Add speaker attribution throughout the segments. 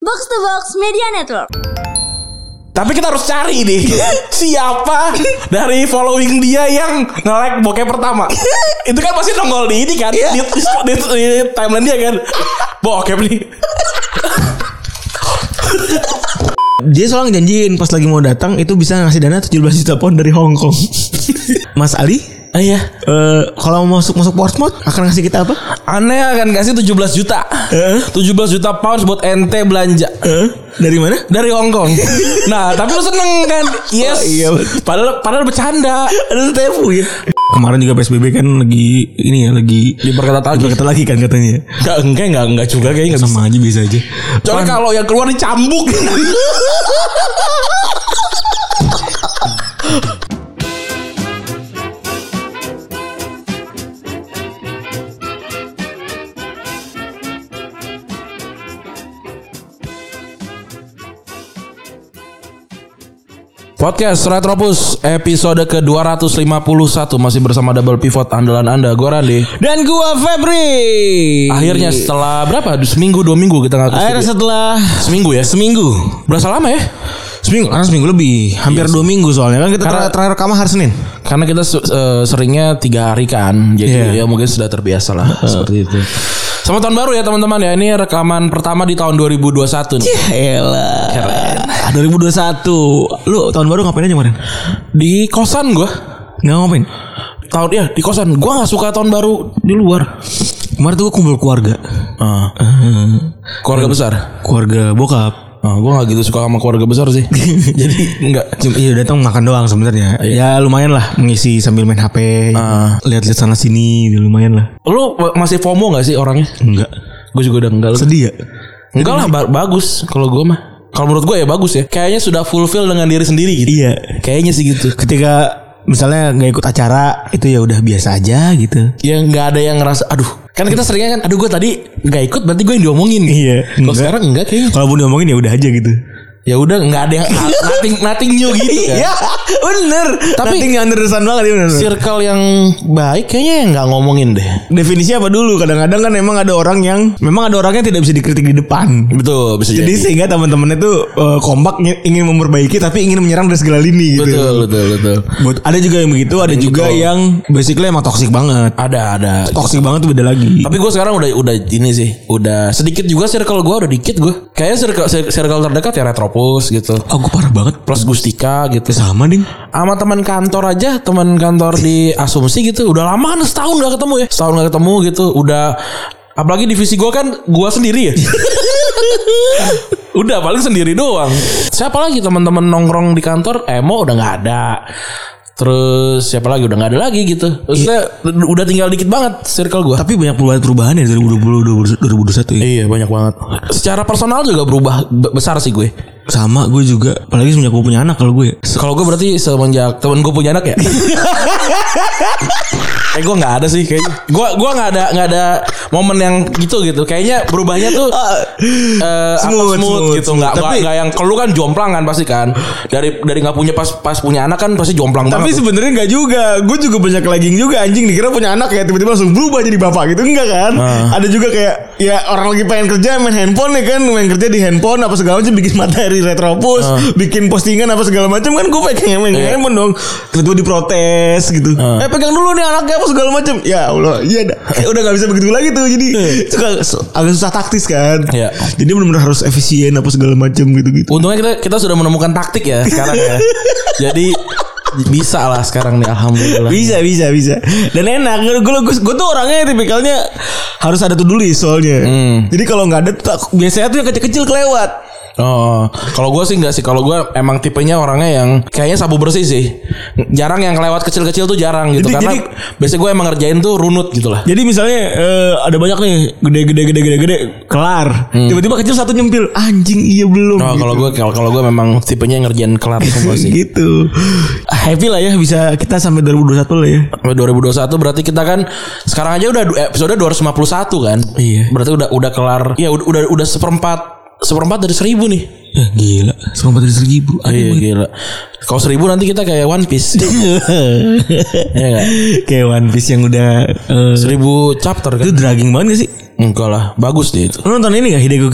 Speaker 1: Box to Box Media Network.
Speaker 2: Tapi kita harus cari nih siapa dari following dia yang nge-like bokep pertama. Itu kan pasti nongol di ini kan di, di, di- di timeline dia kan. Bokep nih.
Speaker 3: Dia soalnya janjiin pas lagi mau datang itu bisa ngasih dana 17 juta pound dari Hong Kong. Mas Ali,
Speaker 2: Ah, iya.
Speaker 3: eh, kalau mau masuk masuk Portsmouth akan ngasih kita apa?
Speaker 2: Aneh akan kasih 17 juta.
Speaker 3: Eh?
Speaker 2: 17 juta pounds buat ente belanja.
Speaker 3: Eh, dari mana?
Speaker 2: Dari Hong Kong. Nah, tapi lu seneng kan? Yes.
Speaker 3: Oh, iya, betul.
Speaker 2: Padahal padahal bercanda.
Speaker 3: Ada telepon ya. Kemarin juga PSBB kan lagi ini ya lagi
Speaker 2: Diperketat lagi.
Speaker 3: Kata lagi kan katanya.
Speaker 2: Enggak, enggak, enggak, enggak juga kayaknya enggak bisa.
Speaker 3: Sama aja bisa aja.
Speaker 2: Kecuali kalau yang keluar dicambuk. Podcast Retropus episode ke-251 masih bersama double pivot andalan Anda gue Randy.
Speaker 3: Dan gua Febri.
Speaker 2: Akhirnya setelah berapa? Seminggu dua minggu kita nggak ke
Speaker 3: akhirnya
Speaker 2: studio.
Speaker 3: setelah
Speaker 2: seminggu ya.
Speaker 3: seminggu.
Speaker 2: Berasa lama ya?
Speaker 3: Seminggu, karena seminggu lebih, hampir dua minggu soalnya kan kita
Speaker 2: Karena-
Speaker 3: ter- terakhir rekaman hari Senin.
Speaker 2: Karena kita su- eh, seringnya tiga hari kan, jadi
Speaker 3: Iya.
Speaker 2: ya mungkin sudah terbiasa lah seperti itu. Sama tahun baru ya teman-teman ya. Ini rekaman pertama di tahun 2021
Speaker 3: Iya.
Speaker 2: nih.
Speaker 3: Elah. Ah, Keren. 2021. Lu tahun baru ngapain aja kemarin?
Speaker 2: Di kosan gua.
Speaker 3: Nggak ngapain.
Speaker 2: Tahun ya di kosan. Gua nggak suka tahun baru di luar.
Speaker 3: Kemarin tuh gue kumpul keluarga. Eh,
Speaker 2: Keluarga besar.
Speaker 3: keluarga bokap.
Speaker 2: Nah, Iya. gua nggak gitu suka sama keluarga besar sih.
Speaker 3: Iya.
Speaker 2: jadi nggak
Speaker 3: Cuma- Iya datang makan doang sebenarnya. Ya lumayan lah mengisi sambil main HP,
Speaker 2: Ah.
Speaker 3: lihat-lihat sana sini, ya lumayan lah.
Speaker 2: Lu masih FOMO gak sih orangnya?
Speaker 3: Enggak.
Speaker 2: Gue juga udah enggak.
Speaker 3: Sedih ya?
Speaker 2: Enggak lah ba- bagus kalau gue mah. Kalau menurut gue ya bagus ya. Kayaknya sudah fulfill dengan diri sendiri gitu.
Speaker 3: Iya.
Speaker 2: Kayaknya sih gitu.
Speaker 3: Ketika misalnya nggak ikut acara itu ya udah biasa aja gitu.
Speaker 2: Ya nggak ada yang ngerasa aduh. Kan kita seringnya kan aduh gue tadi nggak ikut berarti gue yang diomongin.
Speaker 3: Iya,
Speaker 2: Kalau
Speaker 3: enggak.
Speaker 2: sekarang enggak kayaknya.
Speaker 3: Kalaupun diomongin ya udah aja gitu.
Speaker 2: Ya udah nggak ada yang nothing nothing new gitu kan.
Speaker 3: bener. Iya. Tapi
Speaker 2: Tapi-
Speaker 3: nggak understand banget ya bener.
Speaker 2: Circle yang baik kayaknya nggak ngomongin deh.
Speaker 3: Definisi apa dulu? Kadang-kadang kan emang ada orang yang memang ada orangnya tidak bisa dikritik di depan.
Speaker 2: Betul bisa
Speaker 3: Jadi sehingga teman-temannya tuh eh, kompak nge- ingin memperbaiki tapi ingin menyerang dari segala lini gitu.
Speaker 2: Betul betul betul.
Speaker 3: Buat ada juga yang begitu, ada juga yang basically emang toxic banget.
Speaker 2: Ada ada.
Speaker 3: Toxic banget tuh beda lagi.
Speaker 2: Tapi gue sekarang udah udah ini sih, udah sedikit juga circle gue udah dikit gue. Kayaknya circle circle terdekat ya Retropus gitu.
Speaker 3: Aku oh, parah banget. Ya
Speaker 2: Plus Gustika gitu.
Speaker 3: Sama ding.
Speaker 2: sama teman kantor aja teman kantor di asumsi gitu udah lama kan setahun nggak ketemu ya setahun nggak ketemu gitu udah apalagi divisi gua kan gua sendiri ya udah paling sendiri doang siapa lagi teman-teman nongkrong di kantor emo udah nggak ada terus siapa lagi udah nggak ada lagi gitu maksudnya udah tinggal dikit banget circle gua
Speaker 3: Tapi banyak perubahan-perubahan ya 2020 2021 ya.
Speaker 2: iya banyak banget secara personal juga berubah be- besar sih gue
Speaker 3: Sama gue juga. Apalagi semenjak gue punya anak kalau ya. gue.
Speaker 2: Kalau gue berarti semenjak temen gue punya anak ya. eh gue nggak ada sih kayaknya. Gue gua nggak ada nggak ada momen yang gitu gitu. Kayaknya berubahnya tuh eh, apa, gitu
Speaker 3: Oh, Smooth, smooth, smooth.
Speaker 2: nggak nggak
Speaker 3: Tapi-
Speaker 2: nggak yang kalau lu kan jomplang kan pasti kan. Dari dari nggak punya pas pas punya anak kan pasti jomplang
Speaker 3: Tapi
Speaker 2: banget. tuh.
Speaker 3: sebenarnya nggak juga. Gue juga banyak lagging juga anjing dikira punya anak ya tiba-tiba langsung berubah jadi bapak gitu enggak kan?
Speaker 2: Ah.
Speaker 3: Ada juga kayak ya orang lagi pengen kerja main handphone ya kan, main kerja di handphone apa segala macam bikin materi retropus,
Speaker 2: Ah.
Speaker 3: bikin postingan apa segala macam kan gue pengen main handphone dong. Tiba-tiba diprotes gitu.
Speaker 2: Iya. Ah.
Speaker 3: Eh pegang dulu nih anaknya apa segala macam. Ya Allah, iya dah. Eh, udah nggak bisa begitu lagi tuh. Jadi suka agak susah taktis kan.
Speaker 2: Iya.
Speaker 3: Jadi benar-benar harus efisien apa segala macam gitu-gitu.
Speaker 2: Untungnya kita kita sudah menemukan taktik ya sekarang ya. Jadi bisa lah sekarang nih alhamdulillah.
Speaker 3: Bisa bisa bisa Dan enak Gue gue gue tuh orangnya tipikalnya Harus ada tuh dulu soalnya
Speaker 2: Hmm.
Speaker 3: Jadi kalau nggak ada tuh tak- Biasanya tuh yang kecil-kecil kelewat
Speaker 2: Oh, kalau gue sih enggak sih. Kalau gue emang tipenya orangnya yang kayaknya sabu bersih sih. Jarang yang kelewat kecil-kecil tuh jarang gitu. Karena
Speaker 3: Jadi- jadi-
Speaker 2: biasanya gue emang ngerjain tuh runut gitu lah.
Speaker 3: Jadi misalnya eh, Ada banyak nih Gede-gede gede-gede Kelar Tiba-tiba kecil satu nyempil Anjing iya belum
Speaker 2: Hmm. Oh,
Speaker 3: gitu.
Speaker 2: kalau gue kalau kalau gue memang tipenya yang ngerjain kelar semua sih.
Speaker 3: Gitu Happy lah ya Bisa kita sampai 2021 lah ya
Speaker 2: Sampai 2021 berarti kita kan sekarang aja udah du- episode 251 kan.
Speaker 3: Iya.
Speaker 2: Berarti udah udah kelar. Ya udah udah, udah seperempat seperempat dari seribu nih.
Speaker 3: Ya gila Sempat dari seribu
Speaker 2: Eh, Iya gila. Kalau seribu nanti kita kayak One Piece. Iya nggak?
Speaker 3: Kayak One Piece yang udah eh,
Speaker 2: Seribu chapter kan.
Speaker 3: Itu dragging banget gak sih
Speaker 2: Enggak lah, bagus deh itu.
Speaker 3: Lu nonton ini gak Hideo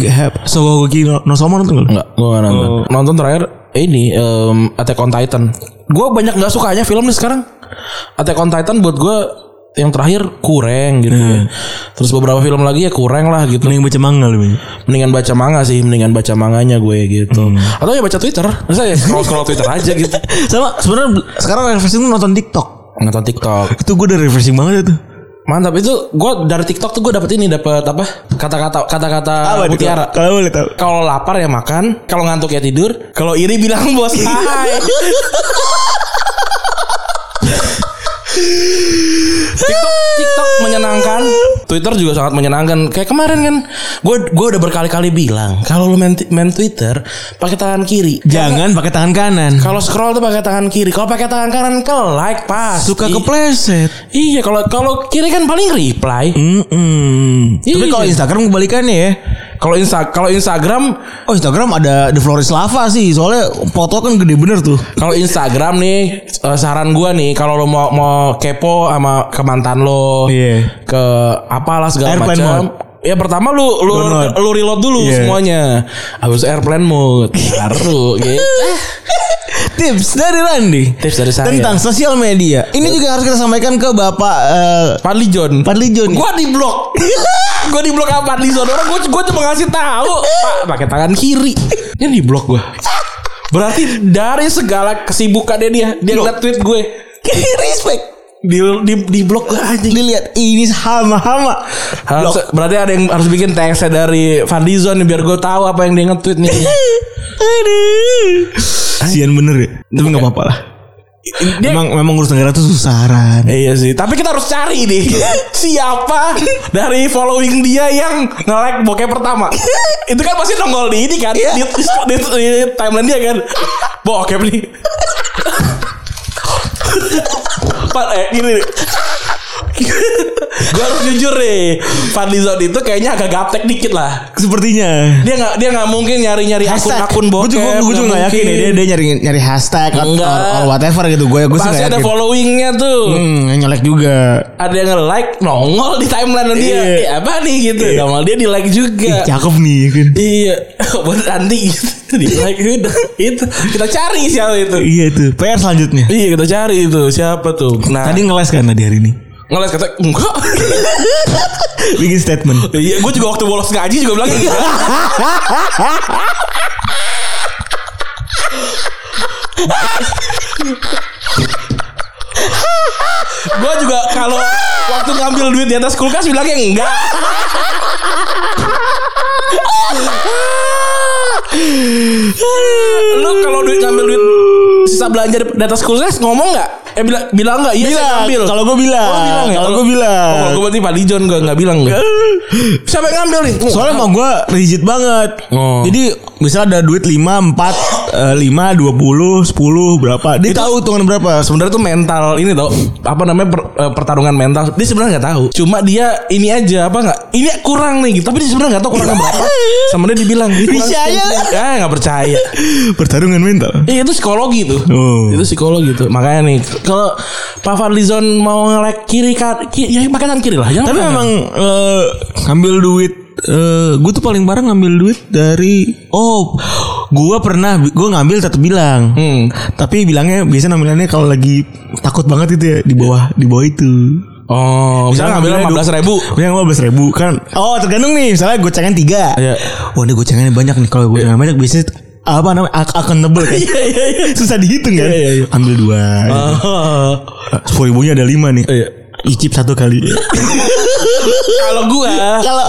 Speaker 3: Sogoki no, Nosoma nonton gak? lu?
Speaker 2: Enggak, gua nggak nonton. Nonton terakhir ini em, Attack on Titan. Gua banyak nggak sukanya film nih sekarang. Attack on Titan buat gua yang terakhir kurang gitu. ya. Terus beberapa film lagi ya kurang lah gitu.
Speaker 3: Mending baca manga lu. Bin.
Speaker 2: Mendingan baca manga sih, mendingan baca manganya gue gitu. Atau ya baca Twitter. Masa ya scroll scroll Twitter aja gitu.
Speaker 3: Sama sebenarnya sekarang refreshing tuh nonton TikTok.
Speaker 2: Nonton TikTok.
Speaker 3: Itu gue udah refreshing banget tuh.
Speaker 2: Mantap itu gue dari TikTok tuh gue dapet ini dapet apa kata-kata kata-kata mutiara.
Speaker 3: Kalau boleh tahu.
Speaker 2: Kalau lapar ya makan, kalau ngantuk ya tidur, kalau iri bilang bos hai. TikTok, TikTok menyenangkan, Twitter juga sangat menyenangkan. Kayak kemarin kan, gue gue udah berkali-kali bilang kalau lu main, main Twitter pakai tangan kiri.
Speaker 3: Jangan pakai tangan kanan.
Speaker 2: Kalau scroll tuh pakai tangan kiri. Kalau pakai tangan kanan ke like pas.
Speaker 3: Suka kepleset.
Speaker 2: Iya kalau kalau kiri kan paling reply.
Speaker 3: Mm-mm. Tapi
Speaker 2: Iya.
Speaker 3: kalau Instagram kebalikannya ya.
Speaker 2: Kalau insta kalau Instagram
Speaker 3: Oh Instagram ada The Flores Lava sih. Soalnya foto kan gede bener tuh.
Speaker 2: Kalau Instagram nih eh, saran gua nih kalau lo mau mau kepo sama ke mantan lo,
Speaker 3: Iya.
Speaker 2: ke apalah segala
Speaker 3: Airplane
Speaker 2: macam. Ya pertama lu lu
Speaker 3: Download.
Speaker 2: lu reload dulu
Speaker 3: Iya.
Speaker 2: semuanya. Habis airplane mode baru gitu.
Speaker 3: Tips dari Randi.
Speaker 2: Tips dari saya.
Speaker 3: Tentang sosial media. Ini juga harus kita sampaikan ke Bapak eh, ya.
Speaker 2: Padli John.
Speaker 3: Padli John.
Speaker 2: Gua di blok. gua di blok apa Padli John orang gua gua cuma ngasih tahu Pak pakai tangan kiri. Dia di blok gua. Berarti dari segala kesibukannya dia dia ngeliat tweet gue
Speaker 3: Respect.
Speaker 2: di di di blok gua anjing.
Speaker 3: Dilihat ini hama-hama.
Speaker 2: Harus,
Speaker 3: Blok.
Speaker 2: berarti ada yang harus bikin TX dari Fadlizon nih biar gue tahu apa yang dia nge-tweet nih.
Speaker 3: Aduh. Sian bener ya. Tapi nggak apa-apa lah.
Speaker 2: Dia-
Speaker 3: Memang memang ngurus negara tuh susah Ran.
Speaker 2: Eh, iya sih, tapi kita harus cari nih siapa dari following dia yang nge-like bokeh pertama. Itu kan pasti nongol di ini kan, di, di, di, di timeline dia kan. Bokep nih. Pak, eh gini nih. gue harus jujur nih, Fadlizon itu kayaknya agak gaptek dikit lah.
Speaker 3: Sepertinya.
Speaker 2: Dia nggak dia nggak mungkin nyari-nyari akun-akun
Speaker 3: Gue
Speaker 2: bokep.
Speaker 3: juga gue juga nggak yakin ya dia dia nyari nyari hashtag atau
Speaker 2: Enggak.
Speaker 3: or, or whatever gitu. Gue gue sih
Speaker 2: Pasti
Speaker 3: nggak
Speaker 2: ada
Speaker 3: yakin.
Speaker 2: followingnya tuh.
Speaker 3: Hmm, nyolek juga.
Speaker 2: Ada yang nge-like nongol di timeline dia.
Speaker 3: Iya.
Speaker 2: Eh, apa nih gitu. Sama dia di-like juga.
Speaker 3: Ih, cakep nih ya kan.
Speaker 2: iya. Buat nanti gitu. Di-like udah. Itu kita cari siapa itu.
Speaker 3: Iya tuh. PR selanjutnya.
Speaker 2: Iya kita cari itu siapa tuh. Nah,
Speaker 3: Tadi ngeles kan tadi hari ini.
Speaker 2: ngeles kata enggak.
Speaker 3: Bikin statement.
Speaker 2: Iya, gue juga waktu bolos ngaji juga bilang gitu. enggak. gue juga kalau waktu ngambil duit di atas kulkas bilangnya enggak. Lu kalau duit ngambil duit sisa belanja di di atas kulkas ngomong nggak? Eh bilang bilang nggak? Iya saya
Speaker 3: Bilang.
Speaker 2: ngambil.
Speaker 3: Kalau gue bilang.
Speaker 2: Oh, bilang ya?
Speaker 3: Kalau gue bilang.
Speaker 2: Oh, kalau gue berarti Pak Dijon gue nggak bilang gue. Siapa yang ngambil nih?
Speaker 3: Soalnya emang gue rigid banget.
Speaker 2: Oh.
Speaker 3: Jadi misal ada duit eh, 5, 4, 5, 20, 10 berapa. Dia tahu hitungan berapa.
Speaker 2: sebenarnya tuh mental ini tau apa namanya per- eh, pertarungan mental dia sebenarnya nggak tahu cuma dia ini aja apa nggak ini kurang nih gitu tapi dia sebenarnya nggak tahu kurangnya berapa sama dia dibilang "Ini kurang
Speaker 3: Percaya.
Speaker 2: sekian." ah nggak percaya
Speaker 3: Pertarungan mental.
Speaker 2: Eh, itu psikologi tuh
Speaker 3: Oh.
Speaker 2: itu psikologi tuh makanya nih kalau Pak Fadlizon mau ngelek kiri kan ki- ya pakai tangan kiri lah jangan
Speaker 3: Tapi
Speaker 2: pakai
Speaker 3: memang eh, ngambil duit eh gue tuh paling parah ngambil duit dari oh gue pernah gue ngambil tetap bilang
Speaker 2: Hmm.
Speaker 3: tapi bilangnya biasanya namanya kalau lagi takut banget itu ya di bawah di bawah itu
Speaker 2: tangan. oh misalnya ngambil Oh, lima belas ribu
Speaker 3: Misalnya lima belas ribu kan. Oh tergantung nih. Misalnya gocengan tiga.
Speaker 2: Iya.
Speaker 3: Wah ini gocengannya banyak nih. Kalau gocengan banyak biasanya apa namanya ak accountable kan. Susah dihitung kan.
Speaker 2: Iya, iya, iya.
Speaker 3: Ambil dua. Eh, Sepuluh ribunya ada lima nih.
Speaker 2: Iya.
Speaker 3: Icip satu kali.
Speaker 2: kalau gua
Speaker 3: Kalau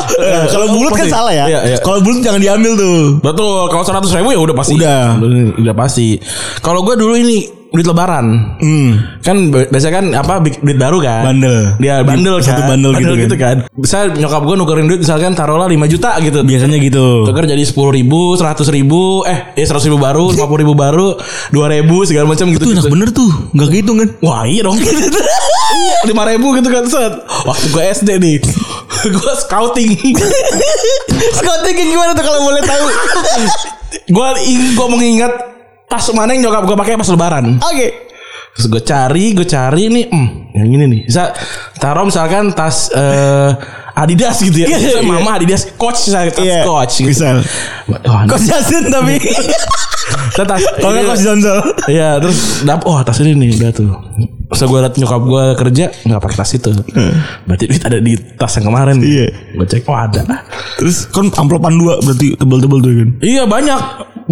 Speaker 3: kalau bulat kan
Speaker 2: pasti.
Speaker 3: salah ya.
Speaker 2: Iya, iya.
Speaker 3: Kalau bulat jangan diambil tuh.
Speaker 2: Betul, kalau seratus ribu ya udah pasti.
Speaker 3: Udah.
Speaker 2: udah pasti. Kalau gue dulu ini duit lebaran,
Speaker 3: Hmm.
Speaker 2: kan bi- biasanya kan apa bi- duit baru kan?
Speaker 3: Bandel.
Speaker 2: Dia bandel
Speaker 3: Satu bandel gitu
Speaker 2: kan. Bisa nyokap gue nukerin duit misalkan taruhlah 5 juta gitu.
Speaker 3: Biasanya gitu.
Speaker 2: Tuker jadi sepuluh ribu, seratus ribu, eh ya seratus ribu baru, lima ribu baru, dua ribu segala macam gitu.
Speaker 3: Tuh enak bener tuh. Gak kehitung kan.
Speaker 2: Wah iya dong lima ribu gitu kan set. Waktu gue SD nih, gue scouting.
Speaker 3: Scouting gimana tuh kalau boleh tahu?
Speaker 2: gue gue mengingat tas mana yang nyokap gue pakai pas lebaran.
Speaker 3: Oke.
Speaker 2: Terus gue cari, gue cari nih, hmm, yang ini nih. Bisa taruh misalkan tas eh, Adidas gitu ya. Misalnya Mama Adidas, Coach misalnya tas
Speaker 3: Iya,
Speaker 2: Coach gitu. Iya.
Speaker 3: misal.
Speaker 2: Wah,
Speaker 3: Kos Justin tapi
Speaker 2: terus tas
Speaker 3: Kalau nggak kos Jonzol
Speaker 2: Iya terus dap oh tas ini nih udah tuh. Terus gue liat nyokap gue kerja nggak pakai tas itu. Berarti duit ada di tas yang kemarin.
Speaker 3: Iya.
Speaker 2: Gue cek oh ada.
Speaker 3: Terus kan amplopan dua berarti tebel-tebel tuh kan
Speaker 2: Iya banyak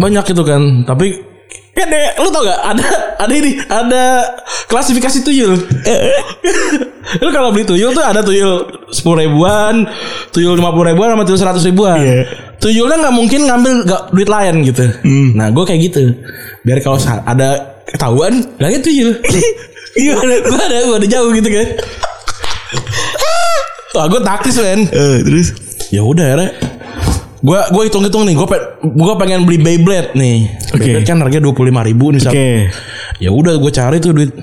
Speaker 2: banyak itu kan. Tapi kan deh, lu tau gak ada ada ini ada klasifikasi tuyul. lu kalau beli tuyul tuh ada tuyul sepuluh ribuan, tuyul lima puluh ribuan, sama tuyul seratus ribuan.
Speaker 3: Iya.
Speaker 2: Tuyulnya nggak mungkin ngambil nggak duit lain gitu. Nah gue kayak gitu. Biar kalau sa- ada ketahuan, bilangnya tuyul. Iya, gue ada gue ada jauh gitu kan. Wah gue taktis men
Speaker 3: Eh, Terus
Speaker 2: ya udah akhirnya gue gue hitung hitung nih gue gue pengen beli Beyblade nih
Speaker 3: Oke.
Speaker 2: Beyblade kan harganya dua puluh lima ribu nih Sab.
Speaker 3: Oke
Speaker 2: ya udah gue cari tuh duit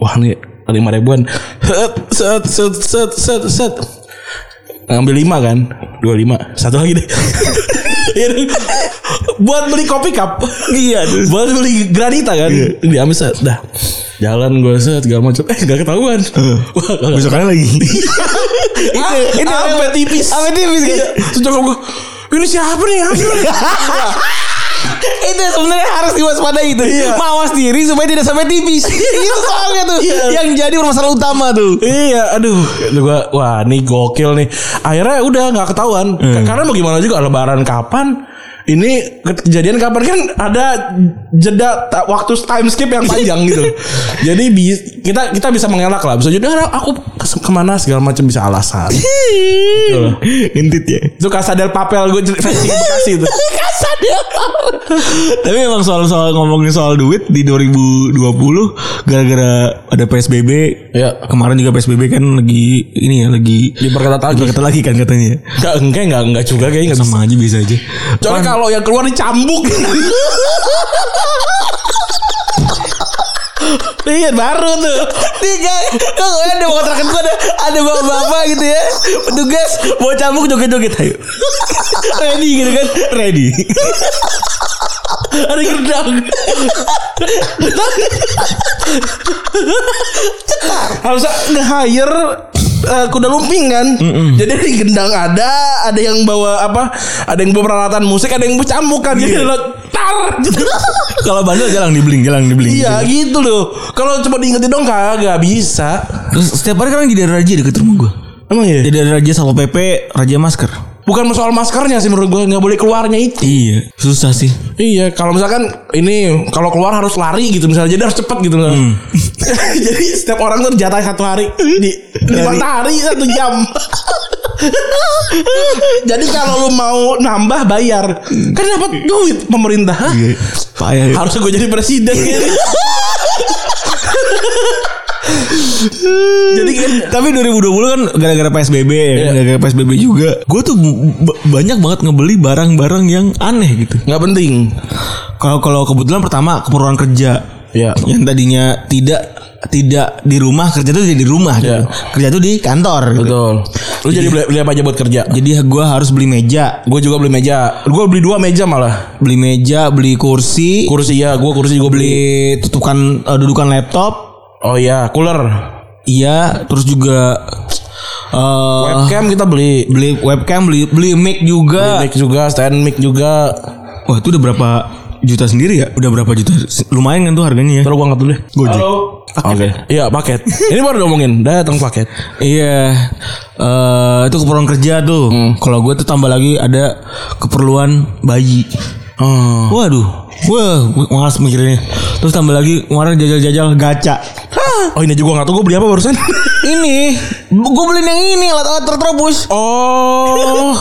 Speaker 2: wah nih lima ribuan set set set set set set ngambil lima kan dua lima satu lagi deh Ini buat beli kopi cup iya buat beli granita kan
Speaker 3: Iya.
Speaker 2: diambil set dah jalan gue set gak macam eh gak ketahuan Wah, gak-
Speaker 3: Besokannya lagi
Speaker 2: Ah, ini sampai tipis.
Speaker 3: Sampai tipis, kan?
Speaker 2: Iya. Terus nyokap gue, ini siapa nih? Apa nih?"
Speaker 3: itu sebenarnya harus diwaspadai itu. Mawas diri supaya tidak sampai tipis. itu soalnya tuh
Speaker 2: Iya.
Speaker 3: yang jadi permasalahan utama tuh.
Speaker 2: iya, aduh. Itu gua, wah, ini gokil nih. Akhirnya udah nggak ketahuan.
Speaker 3: Hmm.
Speaker 2: Karena mau gimana juga lebaran kapan? Ini kejadian kapan kan ada jeda ta- waktu time skip yang panjang gitu. Jadi bi- kita kita bisa mengelak lah. Bisa jadi "Ah, aku kes- kemana segala macam bisa alasan.
Speaker 3: Iya. Intit ya.
Speaker 2: Itu kasadel papel gue versi Bekasi itu.
Speaker 3: Tapi emang soal-soal ngomongin soal duit di 2020 gara-gara ada PSBB.
Speaker 2: Ya.
Speaker 3: Kemarin juga PSBB kan lagi ini ya lagi
Speaker 2: Diperketat lagi.
Speaker 3: kata lagi kan katanya.
Speaker 2: Enggak, enggak, enggak, enggak juga kayaknya nggak bisa.
Speaker 3: Sama aja bisa aja.
Speaker 2: Soalnya kalau yang keluar dicambuk. Iya baru tuh.
Speaker 3: Tiga, kok ada mau kontrakan gue ada ada bapak-bapak gitu ya, petugas mau cambuk joget-joget ayo. Ready gitu kan, ready.
Speaker 2: Ada gerdang. Harus nge-hire eh, kuda lumping kan. Jadi ada yang gendang ada, ada yang bawa apa? Ada yang bawa peralatan musik, ada yang bawa cambuk kan. Jadi lo tar.
Speaker 3: Kalau bandel jalan dibeling, jalan dibeling.
Speaker 2: Iya gitu loh. Kalau cuma diingetin dong kagak bisa.
Speaker 3: Terus setiap hari kan jadi ada raja deket rumah gue.
Speaker 2: Emang ya?
Speaker 3: Jadi ada raja sama PP, raja masker.
Speaker 2: Bukan soal maskernya sih menurut gue nggak boleh keluarnya itu.
Speaker 3: Iya, susah sih.
Speaker 2: Iya, kalau misalkan ini kalau keluar harus lari gitu misalnya, jadi harus cepat gitu loh. jadi setiap orang tuh jatah satu hari di lima hari satu jam. jadi kalau lu mau nambah bayar, kan dapat duit pemerintah.
Speaker 3: Payah. ya.
Speaker 2: Harusnya gue jadi presiden. jadi kan
Speaker 3: Tapi 2020 kan gara-gara PSBB ya, kan?
Speaker 2: Iya.
Speaker 3: gara-gara PSBB juga. Gue tuh b- banyak banget ngebeli barang-barang yang aneh gitu.
Speaker 2: nggak penting.
Speaker 3: Kalau kalau kebetulan pertama keperluan kerja.
Speaker 2: Iya.
Speaker 3: Yang tadinya tidak tidak di rumah kerja tuh jadi di rumah gitu.
Speaker 2: Iya.
Speaker 3: Kerja tuh di kantor gitu.
Speaker 2: Betul. Lu jadi beli, beli apa aja buat kerja?
Speaker 3: Jadi gue harus beli meja,
Speaker 2: Gue juga beli meja. Gue beli dua meja malah.
Speaker 3: beli meja, beli kursi,
Speaker 2: Kursi ya, gue kursi juga beli.
Speaker 3: beli tutukan eh, dudukan laptop
Speaker 2: Oh iya, cooler.
Speaker 3: iya terus juga eh
Speaker 2: Webcam kita beli.
Speaker 3: beli webcam beli beli mic juga
Speaker 2: Mic juga, stand mic juga.
Speaker 3: wah itu udah berapa juta sendiri ya udah berapa juta lumayan kan tuh harganya ya
Speaker 2: Terus gua angkat dulu deh.
Speaker 3: Gojek.
Speaker 2: Halo. Oke. Iya, paket. Ini baru ngomongin datang paket.
Speaker 3: iya eh itu keperluan kerja tuh
Speaker 2: Hmm.
Speaker 3: kalau gue tuh tambah lagi ada keperluan bayi
Speaker 2: Oh.
Speaker 3: waduh wah gue malas mikirinnya terus tambah lagi kemarin jajal-jajal gacha
Speaker 2: Oh ini juga nggak tahu gue beli apa barusan.
Speaker 3: ini gue beliin yang ini alat-alat terterobus
Speaker 2: Oh.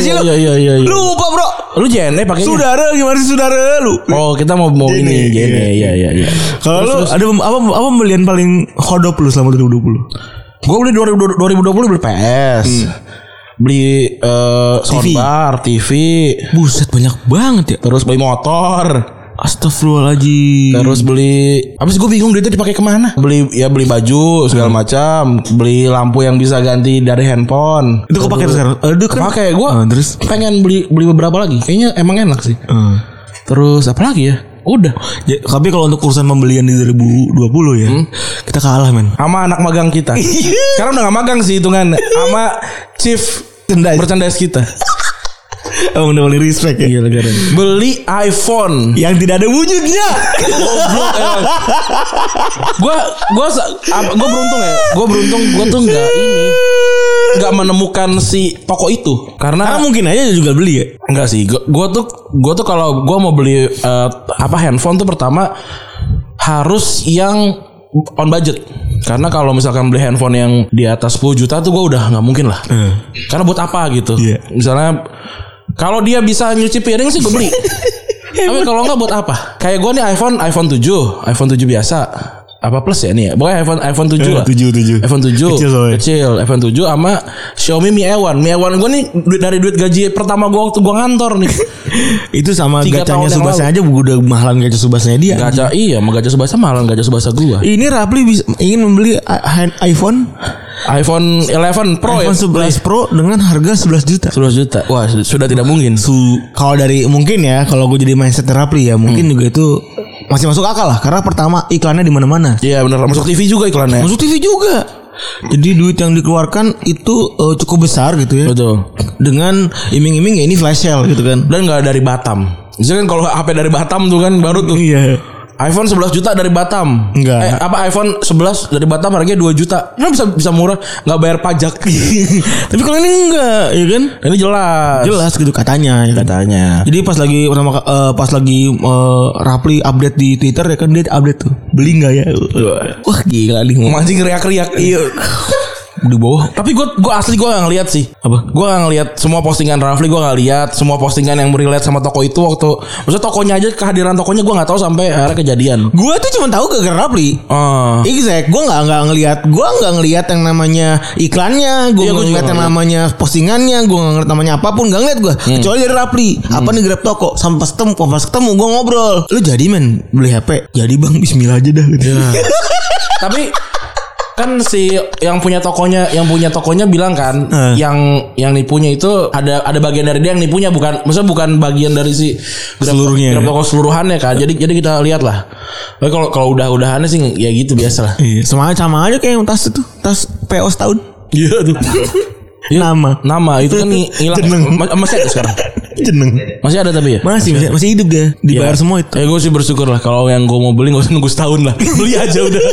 Speaker 2: iya,
Speaker 3: sih
Speaker 2: iya,
Speaker 3: lu?
Speaker 2: iya, iya, iya, iya.
Speaker 3: lupa bro
Speaker 2: lu jene pakainya.
Speaker 3: Saudara gimana sih saudara lu?
Speaker 2: Oh, kita mau mau ini
Speaker 3: Jene,
Speaker 2: jene.
Speaker 3: iya.
Speaker 2: Iya, iya, iya.
Speaker 3: Kalau lu ada pem- apa apa pembelian paling hodop lu selama 2020?
Speaker 2: Gue beli 2020 2020 beli PS. Hmm. Beli eh soundbar, TV,
Speaker 3: Buset banyak banget ya.
Speaker 2: terus beli motor.
Speaker 3: Astagfirullahaladzim.
Speaker 2: Terus beli Hmm. Habis gue bingung duitnya dipakai kemana Hmm. Beli ya beli baju segala macam Beli lampu yang bisa ganti dari handphone Eh,
Speaker 3: Itu kepake tuh sekarang. Aduh kan.
Speaker 2: Pakai gue
Speaker 3: Ah, terus
Speaker 2: pengen beli beli beberapa lagi Kayaknya emang enak sih
Speaker 3: Eh,
Speaker 2: Terus apa lagi ya Udah.
Speaker 3: Ya, tapi kalau untuk urusan pembelian di 2020 ya, kita kalah men.
Speaker 2: Sama anak magang kita. Sekarang udah gak magang sih hitungan. Sama chief
Speaker 3: Merchandise.
Speaker 2: merchandise kita.
Speaker 3: Emang udah mulai respect ya.
Speaker 2: Beli iPhone.
Speaker 3: Yang tidak ada wujudnya.
Speaker 2: Gua gua sa- apa- gua beruntung ya. Gua beruntung gua tuh nggak ini nggak menemukan si toko itu
Speaker 3: Karena
Speaker 2: karena
Speaker 3: mungkin aja juga beli ya.
Speaker 2: Enggak sih, gua, gua tuh gua tuh kalau gua mau beli eh, apa handphone tuh pertama harus yang on budget. Karena kalau misalkan beli handphone yang di atas 10 juta tuh gua udah nggak mungkin lah.
Speaker 3: Eh.
Speaker 2: Karena buat apa gitu?
Speaker 3: Iya.
Speaker 2: Misalnya kalau dia bisa nyuci piring sih gue beli. Tapi kalau nggak buat apa? Kayak gua nih iPhone iPhone 7, iPhone 7 biasa. Apa plus ya nih ya? Pokoknya iPhone iPhone 7 lah.
Speaker 3: Eh, tujuh, tujuh.
Speaker 2: iPhone 7
Speaker 3: Kecil soalnya.
Speaker 2: kecil iPhone 7 sama Xiaomi Mi A1 Mi A1 gue nih duit dari duit gaji pertama gue waktu gue ngantor nih
Speaker 3: Itu sama
Speaker 2: Tiga
Speaker 3: gacanya
Speaker 2: tahun yang
Speaker 3: subasnya aja udah mahalan gacha subasnya dia.
Speaker 2: gacha iya mau gacha sebasa malah gacha sebasa gue
Speaker 3: Ini Rapli bisa- ingin membeli i- hand- iPhone
Speaker 2: iPhone 11 Pro
Speaker 3: iPhone 11 Pro ya? dengan harga 11 juta.
Speaker 2: ya 11 juta wah su- sudah tidak mungkin
Speaker 3: Su kalau dari mungkin ya kalau gue jadi mindset Rapli ya mungkin juga itu masih masuk akal lah karena pertama iklannya di mana-mana.
Speaker 2: iya bener masuk TV juga iklannya
Speaker 3: Masuk TV juga. Jadi duit yang dikeluarkan itu eh, cukup besar gitu ya.
Speaker 2: betul
Speaker 3: Dengan iming-iming ya ini flash sale gitu kan.
Speaker 2: dan nggak dari Batam Misalnya kan kalau HP dari Batam tuh kan baru tuh
Speaker 3: Iya.
Speaker 2: iPhone 11 juta dari Batam.
Speaker 3: Enggak.
Speaker 2: Eh, apa iPhone 11 dari Batam harganya 2 juta. Kan bisa bisa murah, nggak bayar pajak.
Speaker 3: Tapi kalau ini enggak, ya kan?
Speaker 2: Ini jelas.
Speaker 3: Jelas gitu katanya. ya kan?
Speaker 2: Katanya.
Speaker 3: Jadi pas lagi pertama ka- eh, pas lagi eh, Rapli update di Twitter ya kan dia update tuh. Beli enggak ya? Wah, gila nih.
Speaker 2: Mancing riak-riak. Iya.
Speaker 3: Di bawah
Speaker 2: Tapi gue gue asli gue gak ngeliat sih.
Speaker 3: Apa?
Speaker 2: Gue gak ngeliat semua postingan Rafli gue gak lihat semua postingan yang relate sama toko itu waktu. Maksudnya tokonya aja kehadiran tokonya gue nggak tahu sampai akhirnya kejadian.
Speaker 3: Gue tuh cuma tahu gara-gara Rapli.
Speaker 2: Ah.
Speaker 3: Exact, gue nggak nggak ngelihat, gue nggak ngelihat yang namanya iklannya, gue
Speaker 2: Iya, gua
Speaker 3: nggak
Speaker 2: juga
Speaker 3: ngelihat yang
Speaker 2: nggak Hmm.
Speaker 3: namanya postingannya, gue nggak ngelihat namanya apapun, nggak ngeliat gue. Kecuali dari Rapli, apa nih grab toko, sampai pas ketemu, pas ketemu gue ngobrol. Lu jadi men beli HP? Jadi bang, Bismillah aja dah.
Speaker 2: Iya.
Speaker 3: Gitu.
Speaker 2: Tapi kan si yang punya tokonya yang punya tokonya bilang kan
Speaker 3: Eh.
Speaker 2: yang yang nipunya itu ada ada bagian dari dia yang nipunya bukan maksudnya bukan bagian dari si grab-
Speaker 3: Seluruhnya. ya?
Speaker 2: grab toko seluruhannya kan jadi jadi kita lihat lah tapi kalau kalau udah udahannya sih ya gitu biasa lah
Speaker 3: Iya, sama sama aja kayak yang tas itu, tas PO setahun.
Speaker 2: iya tuh Iya,
Speaker 3: Nama,
Speaker 2: nama itu kan hi- hilang
Speaker 3: Jeneng.
Speaker 2: Ma- masih ada sekarang
Speaker 3: jeneng.
Speaker 2: masih ada tapi ya
Speaker 3: Masih masih, masih hidup dia, dibayar semua itu.
Speaker 2: ya gue sih bersyukur lah kalau yang gue mau beli gak usah nunggu setahun lah beli aja udah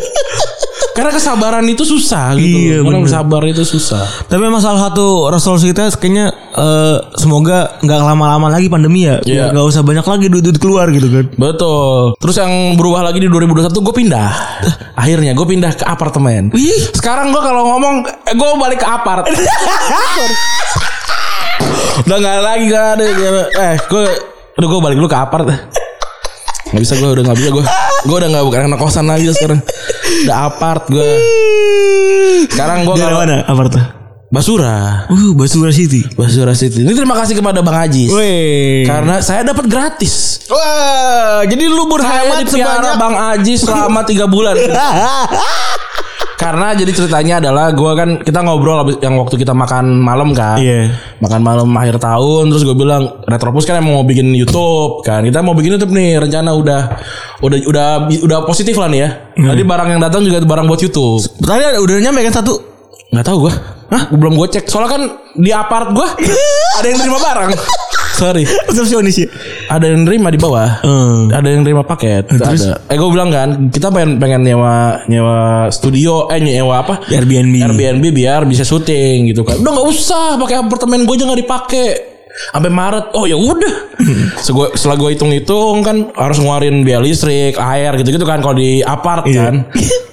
Speaker 2: karena kesabaran itu susah gitu
Speaker 3: Iya,
Speaker 2: orang
Speaker 3: bener.
Speaker 2: sabar itu susah
Speaker 3: Tapi emang salah satu resolusi kita kayaknya eh, semoga nggak lama-lama lagi pandemi ya,
Speaker 2: Iya.
Speaker 3: Biar nggak usah banyak lagi duit-duit keluar gitu kan.
Speaker 2: Betul. Terus yang berubah lagi di 2021 gue pindah. Akhirnya gue pindah ke apartemen.
Speaker 3: Wih.
Speaker 2: Sekarang gue kalau ngomong gue balik ke apart. Sorry. Udah nggak lagi gak ada. gak- Eh gue udah gue balik dulu ke apart. Gak bisa gue udah gak bisa gue. Gue udah gak bukan anak kosan lagi sekarang. Udah apart gue. Sekarang gue
Speaker 3: Daerah
Speaker 2: kalau
Speaker 3: mana? Apa tuh?
Speaker 2: Basura.
Speaker 3: Uh, Basura City.
Speaker 2: Basura City. Ini terima kasih kepada Bang Ajis.
Speaker 3: Wih.
Speaker 2: Karena saya dapat gratis.
Speaker 3: Wah, jadi lu
Speaker 2: Saya
Speaker 3: berhemat
Speaker 2: dipiara
Speaker 3: sebanyak
Speaker 2: Bang Aji selama 3 bulan. Karena jadi ceritanya adalah gua kan kita ngobrol abis- yang waktu kita makan malam kan.
Speaker 3: Iya.
Speaker 2: Makan malam akhir tahun terus gue bilang Retropus kan emang mau bikin YouTube kan. Kita mau bikin YouTube nih rencana udah udah udah udah positif lah nih ya.
Speaker 3: Hmm.
Speaker 2: Jadi barang yang datang juga barang buat YouTube.
Speaker 3: Tadi ada udah nyampe kan satu.
Speaker 2: Nggak tahu gua. Hah? Belum gue cek. Soalnya kan di apart gua ada yang terima barang. Sorry.
Speaker 3: Resepsionis ya.
Speaker 2: ada yang nerima di bawah
Speaker 3: Hmm.
Speaker 2: ada yang nerima paket
Speaker 3: terus?
Speaker 2: ada eh gue bilang kan kita pengen pengen nyewa nyewa studio eh nyewa apa
Speaker 3: Airbnb.
Speaker 2: Airbnb biar bisa syuting gitu kan udah nggak usah pakai apartemen gue aja nggak dipakai sampai Maret oh ya udah So, gua- setelah gue hitung hitung kan harus ngeluarin biaya listrik air gitu gitu kan kalau di apart
Speaker 3: Iya.
Speaker 2: kan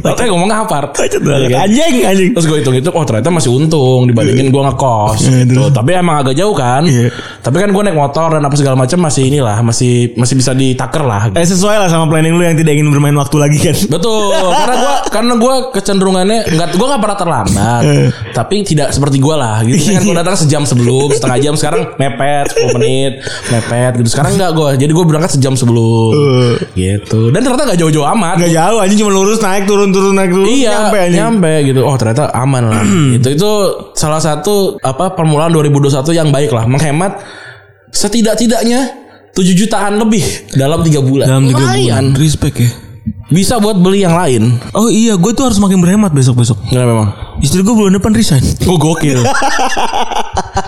Speaker 2: Makanya ngomongnya apart
Speaker 3: Bacot
Speaker 2: Iya
Speaker 3: banget.
Speaker 2: kan?
Speaker 3: Anjing anjing.
Speaker 2: Terus gue hitung-hitung Oh ternyata masih untung Dibandingin gue ngekos
Speaker 3: Iya,
Speaker 2: gitu.
Speaker 3: terus?
Speaker 2: Tapi emang agak jauh kan
Speaker 3: Iya.
Speaker 2: Tapi kan gue naik motor Dan apa segala macam Masih inilah Masih masih bisa ditaker lah gitu.
Speaker 3: Eh sesuai lah sama planning lu yang tidak ingin bermain waktu lagi kan.
Speaker 2: Betul Karena gue karena gua kecenderungannya nggak Gue gak pernah terlambat
Speaker 3: Eh.
Speaker 2: Tapi tidak seperti gue lah gitu Kan gue datang sejam sebelum Setengah jam sekarang Mepet 10 menit Mepet gitu Sekarang nggak gue Jadi gue berangkat sejam sebelum
Speaker 3: Eh.
Speaker 2: Gitu Dan ternyata nggak jauh-jauh amat
Speaker 3: Gak jauh anjing cuma lurus naik turun turun naik turun
Speaker 2: Iya,
Speaker 3: nyampe
Speaker 2: nyampe,
Speaker 3: anjing. Hmm.
Speaker 2: gitu. Oh, ternyata aman lah. itu itu salah satu apa permulaan 2021 yang baik lah, menghemat setidak-tidaknya 7 7 jutaan lebih dalam 3 bulan.
Speaker 3: Dalam tiga
Speaker 2: Lumayan.
Speaker 3: bulan. Respect ya.
Speaker 2: Bisa buat beli yang lain.
Speaker 3: Oh iya, gue tuh harus makin berhemat besok-besok.
Speaker 2: Enggak memang.
Speaker 3: Istri gue bulan depan resign.
Speaker 2: Oh gokil.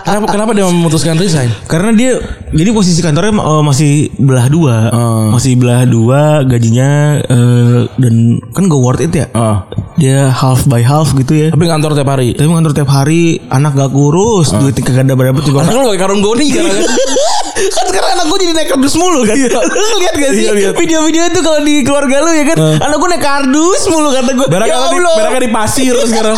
Speaker 2: kenapa kenapa dia memutuskan resign?
Speaker 3: Karena dia jadi posisi kantornya eh, masih belah dua, masih belah dua gajinya eh, dan kan gak worth it ya.
Speaker 2: Ah.
Speaker 3: Dia half by half gitu ya.
Speaker 2: Tapi kantor tiap hari.
Speaker 3: Tapi kantor tiap hari anak gak kurus, duit kagak ada berapa juga.
Speaker 2: Anak lu pakai karung goni kan?
Speaker 3: kan sekarang anak gue jadi naik kardus mulu kan. Lu lihat gak sih
Speaker 2: Iya, lihat.
Speaker 3: video-video itu kalau di keluarga lu ya kan? Anak gue naik kardus mulu kata gue.
Speaker 2: Barangnya
Speaker 3: ya
Speaker 2: di,
Speaker 3: Allah.
Speaker 2: barangnya di pasir sekarang.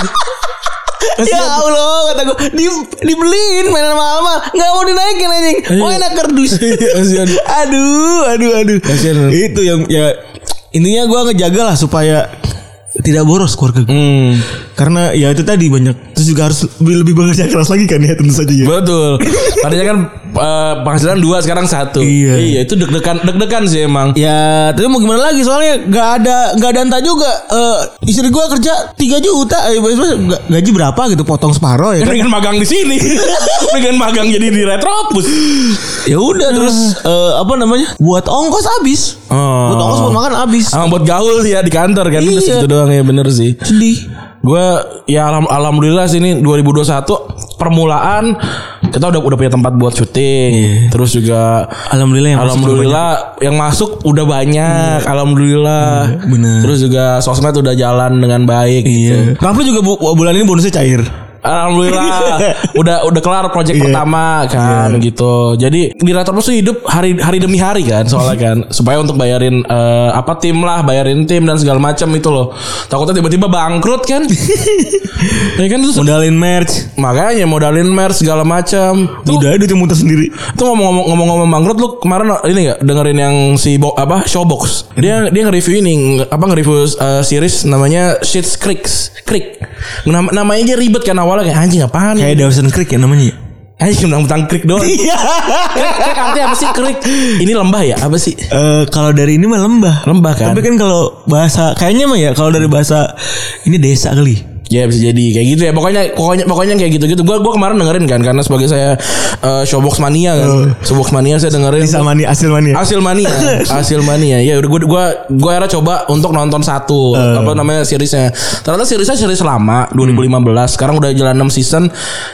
Speaker 3: Ya Allah kata gue di, dibeliin mainan mahal-mahal nggak mau dinaikin anjing mau enak kardus
Speaker 2: Iya. Kasihan.
Speaker 3: aduh aduh aduh
Speaker 2: Kasihan.
Speaker 3: itu yang ya intinya gue ngejaga lah supaya tidak boros keluarga gue.
Speaker 2: Hmm.
Speaker 3: karena ya itu tadi banyak terus juga harus lebih, lebih bekerja keras lagi kan ya tentu saja ya
Speaker 2: Betul. Tadinya kan eh, penghasilan dua sekarang satu.
Speaker 3: Iya.
Speaker 2: itu deg-degan deg-degan sih emang.
Speaker 3: Ya, tapi mau gimana lagi soalnya nggak ada nggak ada entah juga eh, istri gua kerja 3 juta, eh, maksudnya nggak- gaji berapa gitu potong separoh ya kan.
Speaker 2: Dengan magang di sini. Dengan magang jadi di Retropus.
Speaker 3: Ya udah terus eh, apa namanya? Buat ongkos habis.
Speaker 2: Oh.
Speaker 3: Buat ongkos buat makan habis.
Speaker 2: Emang buat gaul sih ya di kantor kan. Udah
Speaker 3: Iya.
Speaker 2: segitu doang ya bener sih.
Speaker 3: Sedih.
Speaker 2: Gue ya alham- alhamdulillah sih ini 2021 permulaan kita udah udah punya tempat buat syuting.
Speaker 3: Iya.
Speaker 2: Terus juga
Speaker 3: Alhamdulillah yang
Speaker 2: Alhamdulillah yang masuk udah banyak. Alhamdulillah.
Speaker 3: bener.
Speaker 2: Terus juga sosmed udah jalan dengan baik. gitu.
Speaker 3: Rafli Iya. juga bu- bulan ini bonusnya cair.
Speaker 2: Alhamdulillah udah udah kelar project pertama kan gitu. Jadi di Retropus tuh hidup hari hari demi hari kan soalnya kan supaya untuk bayarin eh, apa tim lah, bayarin tim dan segala macam itu loh. Takutnya tiba-tiba bangkrut kan. ya kan terus
Speaker 3: Modalin merch.
Speaker 2: makanya modalin mer segala macam. Tuh
Speaker 3: Udah duitnya muter sendiri.
Speaker 2: tuh ngomong-ngomong ngomong-ngomong bangkrut lu kemarin ini enggak dengerin yang si bo, apa Showbox. Dia dia nge-review ini nge- apa nge-review eh, series namanya Shit's Creek. Creek. Nama, namanya aja ribet kan awalnya kayak anjing apaan ini?"
Speaker 3: Kayak Iya. Dawson Creek ya namanya.
Speaker 2: Anjing menang tentang krik doang. krik, krik artinya apa sih krik? Ini lembah ya? Apa sih?
Speaker 3: Eh kalau dari ini mah lembah.
Speaker 2: Lembah kan?
Speaker 3: Tapi kan kalau bahasa kayaknya mah ya kalau dari bahasa ini desa kali.
Speaker 2: Ya bisa jadi kayak gitu ya. Pokoknya pokoknya pokoknya kayak gitu-gitu. Gua gua kemarin dengerin kan karena sebagai saya eh, showbox mania kan. Showbox mania saya dengerin.
Speaker 3: Desa mania, hasil mania.
Speaker 2: Hasil mania, hasil mania. Ya udah gua gua gua era coba untuk nonton satu
Speaker 3: Eh.
Speaker 2: apa namanya seriesnya. Ternyata seriesnya series lama 2015. Sekarang udah jalan 6 season.